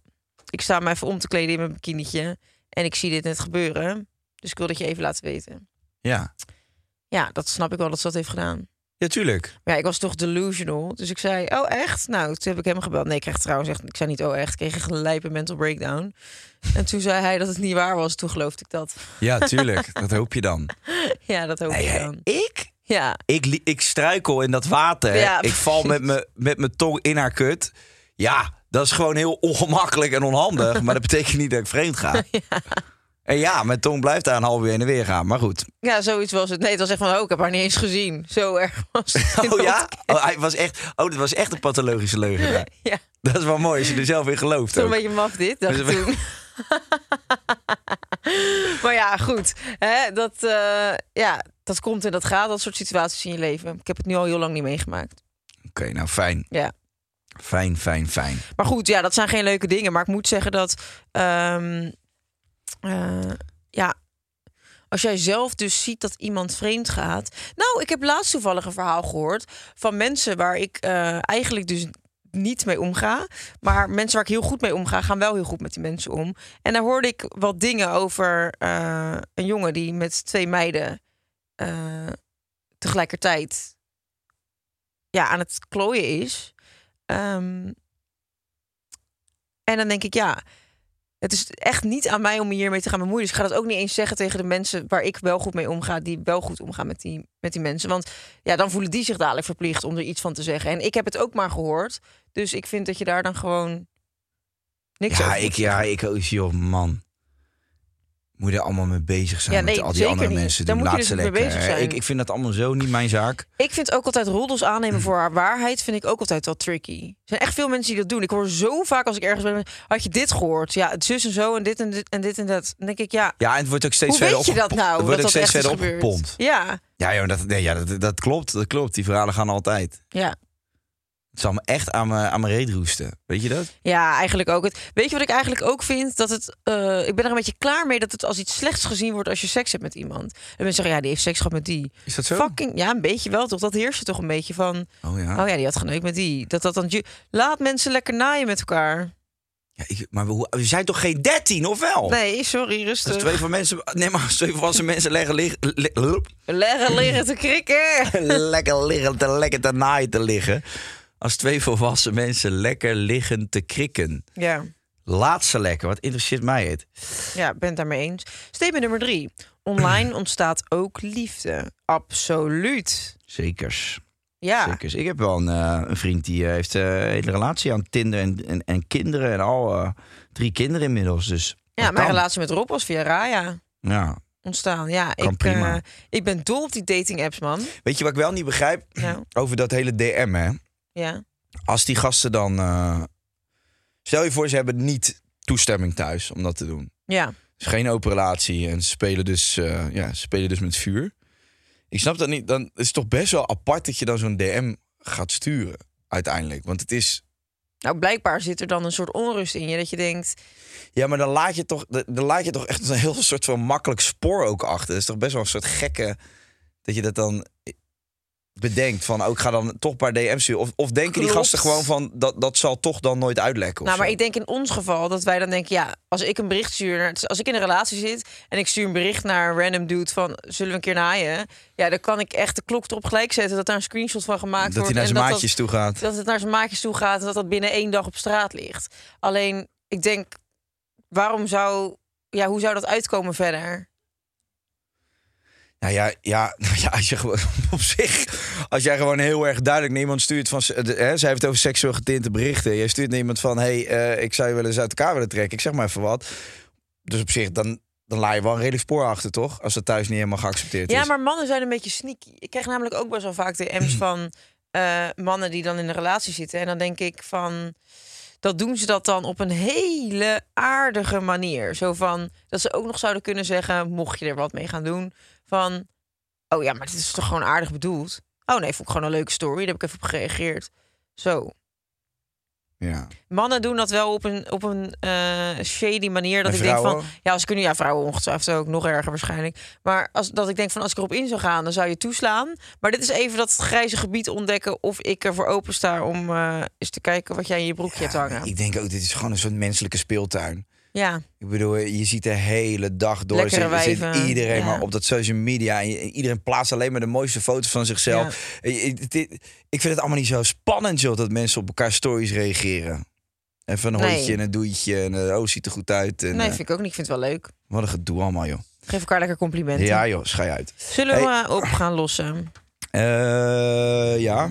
[SPEAKER 3] ik sta me even om te kleden in mijn bikinietje. En ik zie dit net gebeuren. Dus ik wil dat je even laat weten.
[SPEAKER 5] Ja.
[SPEAKER 3] Ja, dat snap ik wel dat ze dat heeft gedaan.
[SPEAKER 5] Ja, tuurlijk.
[SPEAKER 3] Maar ja, ik was toch delusional. Dus ik zei, oh echt? Nou, toen heb ik hem gebeld. Nee, ik kreeg trouwens echt, ik zei niet, oh echt. Ik kreeg echt een lijpe mental breakdown. En toen zei hij dat het niet waar was. Toen geloofde ik dat.
[SPEAKER 5] Ja, tuurlijk. dat hoop je dan.
[SPEAKER 3] Ja, dat hoop
[SPEAKER 5] Nee,
[SPEAKER 3] ik
[SPEAKER 5] hè,
[SPEAKER 3] dan.
[SPEAKER 5] ik?
[SPEAKER 3] Ja,
[SPEAKER 5] Ik, li- ik struikel in dat water.
[SPEAKER 3] Ja,
[SPEAKER 5] ik val met
[SPEAKER 3] precies.
[SPEAKER 5] me- met mijn tong in haar kut. Ja, dat is gewoon heel ongemakkelijk en onhandig. maar dat betekent niet dat ik vreemd ga. En ja, mijn tong blijft daar een half uur heen en weer gaan. Maar goed.
[SPEAKER 3] ja, zoiets was het. Nee, het was echt van, oh, ik heb haar niet eens gezien. Zo erg was het.
[SPEAKER 5] Oh ja? Oh, hij was echt, oh, dat was echt een pathologische leugen. daar.
[SPEAKER 3] Ja,
[SPEAKER 5] Dat is wel mooi als je er zelf in gelooft.
[SPEAKER 3] toch een
[SPEAKER 5] ook.
[SPEAKER 3] beetje maf dit, dacht ik
[SPEAKER 5] Dus we-
[SPEAKER 3] toen. maar ja, goed. Hè, dat, eh, ja, dat komt en dat gaat, dat soort situaties in je leven. Ik heb het nu al heel lang niet meegemaakt.
[SPEAKER 5] Oké, nou fijn.
[SPEAKER 3] Ja.
[SPEAKER 5] Fijn, fijn, fijn.
[SPEAKER 3] Maar goed, ja, dat zijn geen leuke dingen. Maar ik moet zeggen dat... ehm, eh, ja, als jij zelf dus ziet dat iemand vreemd gaat... Nou, ik heb laatst toevallig een verhaal gehoord... van mensen waar ik eh, eigenlijk dus niet mee omga. Maar mensen waar ik heel goed mee omga... gaan wel heel goed met die mensen om. En daar hoorde ik wat dingen over eh, een jongen... die met twee meiden eh, tegelijkertijd ja, aan het klooien is... Ehm, En dan denk ik, ja, het is echt niet aan mij om me hiermee te gaan bemoeien. Dus ik ga dat ook niet eens zeggen tegen de mensen waar ik wel goed mee omga, die wel goed omgaan met die, met die mensen. Want ja, dan voelen die zich dadelijk verplicht om er iets van te zeggen. En ik heb het ook maar gehoord. Dus ik vind dat je daar dan gewoon niks
[SPEAKER 5] Ja,
[SPEAKER 3] over moet
[SPEAKER 5] ik, ja, ik ook, joh, man. Moet je er allemaal mee bezig zijn
[SPEAKER 3] Ja,
[SPEAKER 5] met
[SPEAKER 3] nee,
[SPEAKER 5] al die
[SPEAKER 3] zeker
[SPEAKER 5] andere
[SPEAKER 3] niet.
[SPEAKER 5] mensen.
[SPEAKER 3] Daar
[SPEAKER 5] Doe,
[SPEAKER 3] moet je
[SPEAKER 5] laat
[SPEAKER 3] dus
[SPEAKER 5] ze
[SPEAKER 3] niet mee
[SPEAKER 5] lekker.
[SPEAKER 3] bezig zijn.
[SPEAKER 5] Ik, ik vind dat allemaal zo niet mijn zaak.
[SPEAKER 3] Ik vind ook altijd roddels aannemen voor haar waarheid vind ik ook altijd wel tricky. Er zijn echt veel mensen die dat doen. Ik hoor zo vaak als ik ergens ben, had je dit gehoord? Ja, het zus en zo en dit en dit en dit en dat. Dan denk ik, ja,
[SPEAKER 5] Ja, en het wordt ook steeds
[SPEAKER 3] hoe
[SPEAKER 5] verder
[SPEAKER 3] weet je dat
[SPEAKER 5] opgepompt.
[SPEAKER 3] nou?
[SPEAKER 5] Het wordt
[SPEAKER 3] dat
[SPEAKER 5] ook steeds
[SPEAKER 3] echt is
[SPEAKER 5] verder
[SPEAKER 3] gebeurd?
[SPEAKER 5] opgepompt.
[SPEAKER 3] Ja,
[SPEAKER 5] Ja, joh, dat, nee, ja dat, dat klopt. Dat klopt. Die verhalen gaan altijd.
[SPEAKER 3] ja.
[SPEAKER 5] Het zal me echt aan mijn, aan mijn reet roesten. Weet je dat?
[SPEAKER 3] Ja, eigenlijk ook. Het, weet je wat ik eigenlijk ook vind? Dat het, eh, ik ben er een beetje klaar mee dat het als iets slechts gezien wordt als je seks hebt met iemand. En mensen zeggen, ja, die heeft seks gehad met die.
[SPEAKER 5] Is dat zo?
[SPEAKER 3] Fucking, ja, een beetje wel toch? Dat heerst er toch een beetje van.
[SPEAKER 5] Oh ja.
[SPEAKER 3] Oh ja, die had geneukt met die. Dat, dat dan, ju- laat mensen lekker naaien met elkaar.
[SPEAKER 5] Ja, ik- maar we, we zijn toch geen 13, of wel?
[SPEAKER 3] Nee, sorry,
[SPEAKER 5] Als
[SPEAKER 3] rustig.
[SPEAKER 5] twee van mensen, nee, maar als twee volwassen mensen leggen, liggen, li- loep,
[SPEAKER 3] Leggen leren te krikken.
[SPEAKER 5] lekker liggen, te lekker te naaien te liggen. Als twee volwassen mensen lekker liggen te krikken.
[SPEAKER 3] Ja,
[SPEAKER 5] Laat ze lekker, wat interesseert mij het?
[SPEAKER 3] ja ben het daarmee eens. Statement nummer drie. Online ontstaat ook liefde. Absoluut.
[SPEAKER 5] Zekers,
[SPEAKER 3] Ja.
[SPEAKER 5] zekers. Ik heb wel een, eh, een vriend die eh, heeft eh, een hele relatie aan Tinder en, en, en kinderen. En al eh, drie kinderen inmiddels, dus
[SPEAKER 3] Ja,
[SPEAKER 5] dat
[SPEAKER 3] mijn
[SPEAKER 5] kan.
[SPEAKER 3] relatie met Rob was via Raya
[SPEAKER 5] Ja.
[SPEAKER 3] ontstaan. Ja,
[SPEAKER 5] Kan
[SPEAKER 3] ik,
[SPEAKER 5] prima.
[SPEAKER 3] eh, ik ben dol op die dating apps, man.
[SPEAKER 5] Weet je wat ik wel niet begrijp?
[SPEAKER 3] Nou,
[SPEAKER 5] Over dat hele DM, hè?
[SPEAKER 3] ja.
[SPEAKER 5] als die gasten dan. eh, stel je voor, ze hebben niet toestemming thuis om dat te doen.
[SPEAKER 3] Ja.
[SPEAKER 5] Dus geen open relatie en ze spelen dus, eh, ja, ze spelen dus met vuur. Ik snap dat niet. Dan het is toch best wel apart dat je dan zo'n DM gaat sturen uiteindelijk. Want het is.
[SPEAKER 3] Nou, blijkbaar zit er dan een soort onrust in je dat je denkt,
[SPEAKER 5] Ja, maar dan laat je toch, dan dan laat je toch echt een heel soort van makkelijk spoor ook achter. Het is toch best wel een soort gekke dat je dat dan bedenkt van, oh, ik ga dan toch een paar DM's sturen. Of, of denken die
[SPEAKER 3] Klopt.
[SPEAKER 5] gasten gewoon van, dat, dat zal toch dan nooit uitlekken? of
[SPEAKER 3] Nou, maar
[SPEAKER 5] zo?
[SPEAKER 3] ik denk in ons geval dat wij dan denken: ja, als ik een bericht stuur, naar- als ik in een relatie zit en ik stuur een bericht naar een random dude van zullen we een keer naaien? Ja, dan kan ik echt de klok erop gelijk zetten dat daar een screenshot van gemaakt
[SPEAKER 5] dat hij
[SPEAKER 3] wordt.
[SPEAKER 5] naar
[SPEAKER 3] en
[SPEAKER 5] zijn
[SPEAKER 3] dat
[SPEAKER 5] maatjes
[SPEAKER 3] dat,
[SPEAKER 5] toe gaat.
[SPEAKER 3] dat het naar zijn maatjes toe gaat en dat dat binnen één dag op straat ligt. Alleen, ik denk, waarom zou, ja, hoe zou dat uitkomen verder?
[SPEAKER 5] Nou ja, ja, nou ja, als je gewoon op zich, als jij gewoon heel erg duidelijk naar iemand stuurt van, ze- de- hè, zij heeft het over seksueel getinte berichten. Jij stuurt naar iemand van, hey, eh, ik zou je wel eens uit elkaar willen trekken. Ik zeg maar even wat. Dus op zich, dan, dan laai je wel een redelijk spoor achter, toch? Als dat thuis niet helemaal geaccepteerd
[SPEAKER 3] Ja,
[SPEAKER 5] is.
[SPEAKER 3] maar mannen zijn een beetje sneaky. Ik krijg namelijk ook best wel vaak DM's van eh, mannen die dan in een relatie zitten. En dan denk ik van, dat doen ze dat dan op een hele aardige manier. Zo van, dat ze ook nog zouden kunnen zeggen, mocht je er wat mee gaan doen, van, oh ja, maar dit is toch gewoon aardig bedoeld. Oh nee, vond ik gewoon een leuke story, daar heb ik even op gereageerd. Zo.
[SPEAKER 5] Ja.
[SPEAKER 3] Mannen doen dat wel op een, op een eh, shady manier. Dat
[SPEAKER 5] En
[SPEAKER 3] ik denk van,
[SPEAKER 5] vrouwen?
[SPEAKER 3] ja, als ik er nu, ja, vrouwen ongetwijfeld ook nog erger waarschijnlijk. Maar als, dat ik denk van, als ik erop in zou gaan, dan zou je toeslaan. Maar dit is even dat grijze gebied ontdekken of ik ervoor open sta om eh, eens te kijken wat jij in je broekje hebt
[SPEAKER 5] Ja,
[SPEAKER 3] hangen.
[SPEAKER 5] ik denk ook, dit is gewoon een soort menselijke speeltuin.
[SPEAKER 3] Ja,
[SPEAKER 5] Ik bedoel, je ziet de hele dag door.
[SPEAKER 3] Lekkere
[SPEAKER 5] zit- zit
[SPEAKER 3] wijven,
[SPEAKER 5] iedereen
[SPEAKER 3] ja.
[SPEAKER 5] maar op dat social media. En je- en iedereen plaatst alleen maar de mooiste foto's van zichzelf. Eh, eh, dit- Ik vind het allemaal niet zo spannend, joh, dat mensen op elkaar stories reageren. Even een
[SPEAKER 3] Nee.
[SPEAKER 5] hondje en een doetje. En eh, oh, ziet er goed uit. En,
[SPEAKER 3] nee,
[SPEAKER 5] eh,
[SPEAKER 3] vind ik ook niet. Ik vind het wel leuk.
[SPEAKER 5] wat een gedoe allemaal, joh.
[SPEAKER 3] Geef elkaar lekker complimenten.
[SPEAKER 5] Ja, joh, schei uit.
[SPEAKER 3] Zullen we eh, op gaan lossen?
[SPEAKER 5] Eh, ja.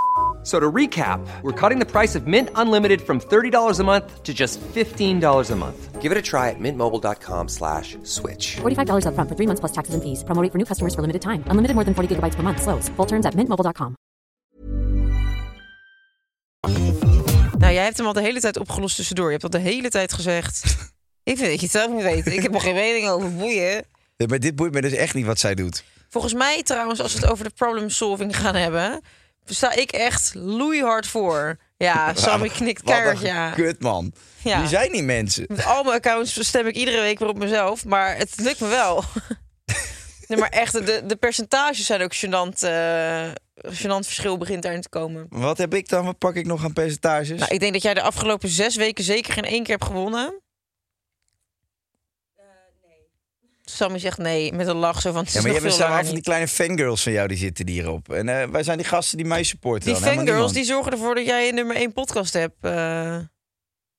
[SPEAKER 6] a-" So to recap, we're cutting the price of Mint Unlimited from $30 a month to just $15 a month.
[SPEAKER 2] Give it a try at mintmobile.com slash switch.
[SPEAKER 7] $45 up front for three months plus taxes and fees. Promo rate for new customers for limited time. Unlimited more than 40 gigabytes per month. Slows. Full terms at mintmobile.com.
[SPEAKER 3] Nou, jij hebt hem al de hele tijd opgelost tussendoor. Je hebt al de hele tijd gezegd. ik vind dat je het zelf moet weten. Ik heb er geen mening over. Boeien.
[SPEAKER 5] Nee, Maar dit boeit me dus echt niet wat zij doet.
[SPEAKER 3] Volgens mij trouwens, als we het over de problem solving gaan hebben, sta ik echt loeihard voor. Ja, Sammy knikt
[SPEAKER 5] Wat een
[SPEAKER 3] keihard, ja.
[SPEAKER 5] kut, man.
[SPEAKER 3] Ja.
[SPEAKER 5] Die zijn niet mensen.
[SPEAKER 3] Met al mijn accounts stem ik iedere week weer op mezelf, maar het lukt me wel. nee, maar echt, de, de percentages zijn ook gênant eh, gênant verschil begint daarin te komen.
[SPEAKER 5] Wat heb ik dan? Wat pak ik nog aan percentages?
[SPEAKER 3] Nou, ik denk dat jij de afgelopen zes weken zeker geen één keer hebt gewonnen. nee. Sammy zegt nee, met een lach zo van... het
[SPEAKER 5] ja,
[SPEAKER 3] is
[SPEAKER 5] maar je
[SPEAKER 3] nog
[SPEAKER 5] hebt
[SPEAKER 3] veel
[SPEAKER 5] zo'n
[SPEAKER 3] langer
[SPEAKER 5] af van die
[SPEAKER 3] niet.
[SPEAKER 5] kleine fangirls van jou die zitten hierop. En eh, wij zijn die gasten die mij supporten.
[SPEAKER 3] Die
[SPEAKER 5] dan, helemaal
[SPEAKER 3] fangirls die
[SPEAKER 5] niemand.
[SPEAKER 3] zorgen ervoor dat jij een nummer één podcast hebt, eh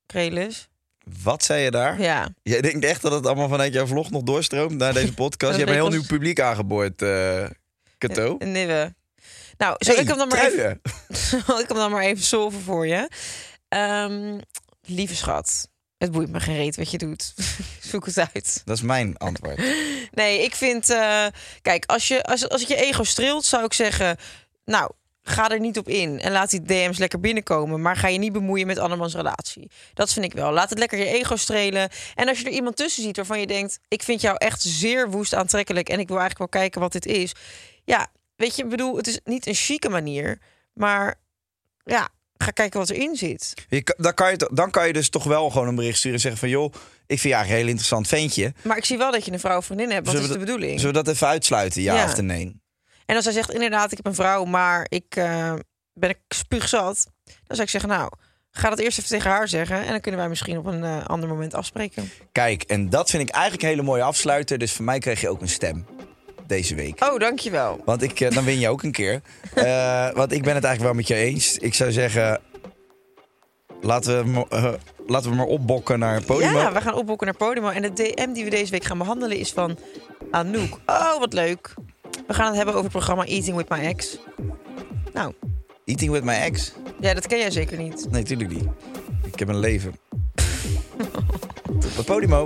[SPEAKER 3] Krelis.
[SPEAKER 5] Wat zei je daar?
[SPEAKER 3] Ja.
[SPEAKER 5] Jij denkt echt dat het allemaal vanuit jouw vlog nog doorstroomt naar deze podcast?
[SPEAKER 3] Dat
[SPEAKER 5] je hebt een heel
[SPEAKER 3] denk ik
[SPEAKER 5] nieuw publiek aangeboord, eh Kato.
[SPEAKER 3] Een nieuwe. Nou, zal
[SPEAKER 5] Hey,
[SPEAKER 3] ik hem dan maar even...
[SPEAKER 5] truien.
[SPEAKER 3] zal ik hem dan maar even solven voor je. Ehm, lieve schat, het boeit me geen reet wat je doet. Zoek het uit.
[SPEAKER 5] Dat is mijn antwoord.
[SPEAKER 3] Nee, ik vind... eh, kijk, als, je, als, als het je ego streelt, zou ik zeggen... Nou, ga er niet op in en laat die DM's lekker binnenkomen. Maar ga je niet bemoeien met andermans relatie. Dat vind ik wel. Laat het lekker je ego strelen. En als je er iemand tussen ziet waarvan je denkt... ik vind jou echt zeer woest aantrekkelijk... en ik wil eigenlijk wel kijken wat dit is. Ja, weet je, ik bedoel, het is niet een chique manier... maar ja, ga kijken wat erin zit.
[SPEAKER 5] Je, kan- dan, kan je, to- dan kan je dus toch wel gewoon een bericht sturen en zeggen van... joh, ik vind je eigenlijk een heel interessant ventje.
[SPEAKER 3] Maar ik zie wel dat je een vrouw of vriendin hebt. Wat
[SPEAKER 5] Zullen
[SPEAKER 3] is de
[SPEAKER 5] we dat-
[SPEAKER 3] bedoeling?
[SPEAKER 5] Zullen we dat even uitsluiten, ja,
[SPEAKER 3] Ja.
[SPEAKER 5] of nee?
[SPEAKER 3] En als hij zegt, inderdaad, ik heb een vrouw, maar ik eh, ben ik spuugzat. Dan zou ik zeggen, nou, ga dat eerst even tegen haar zeggen. En dan kunnen wij misschien op een eh, ander moment afspreken.
[SPEAKER 5] Kijk, en dat vind ik eigenlijk een hele mooie afsluiter. Dus voor mij kreeg je ook een stem deze week.
[SPEAKER 3] Oh, dankjewel.
[SPEAKER 5] Want ik, eh, dan win je ook een keer. Eh, want ik ben het eigenlijk wel met je eens. Ik zou zeggen, laten we, mo- eh, laten we maar opbokken naar een podium.
[SPEAKER 3] Ja, we gaan opboeken naar Podimo. En de DM die we deze week gaan behandelen is van Anouk. Oh, wat leuk. We gaan het hebben over het programma Eating With My Ex. Nou,
[SPEAKER 5] Eating with my ex?
[SPEAKER 3] ja, dat ken jij zeker niet.
[SPEAKER 5] Nee, tuurlijk niet. Ik heb een leven. Op Podimo.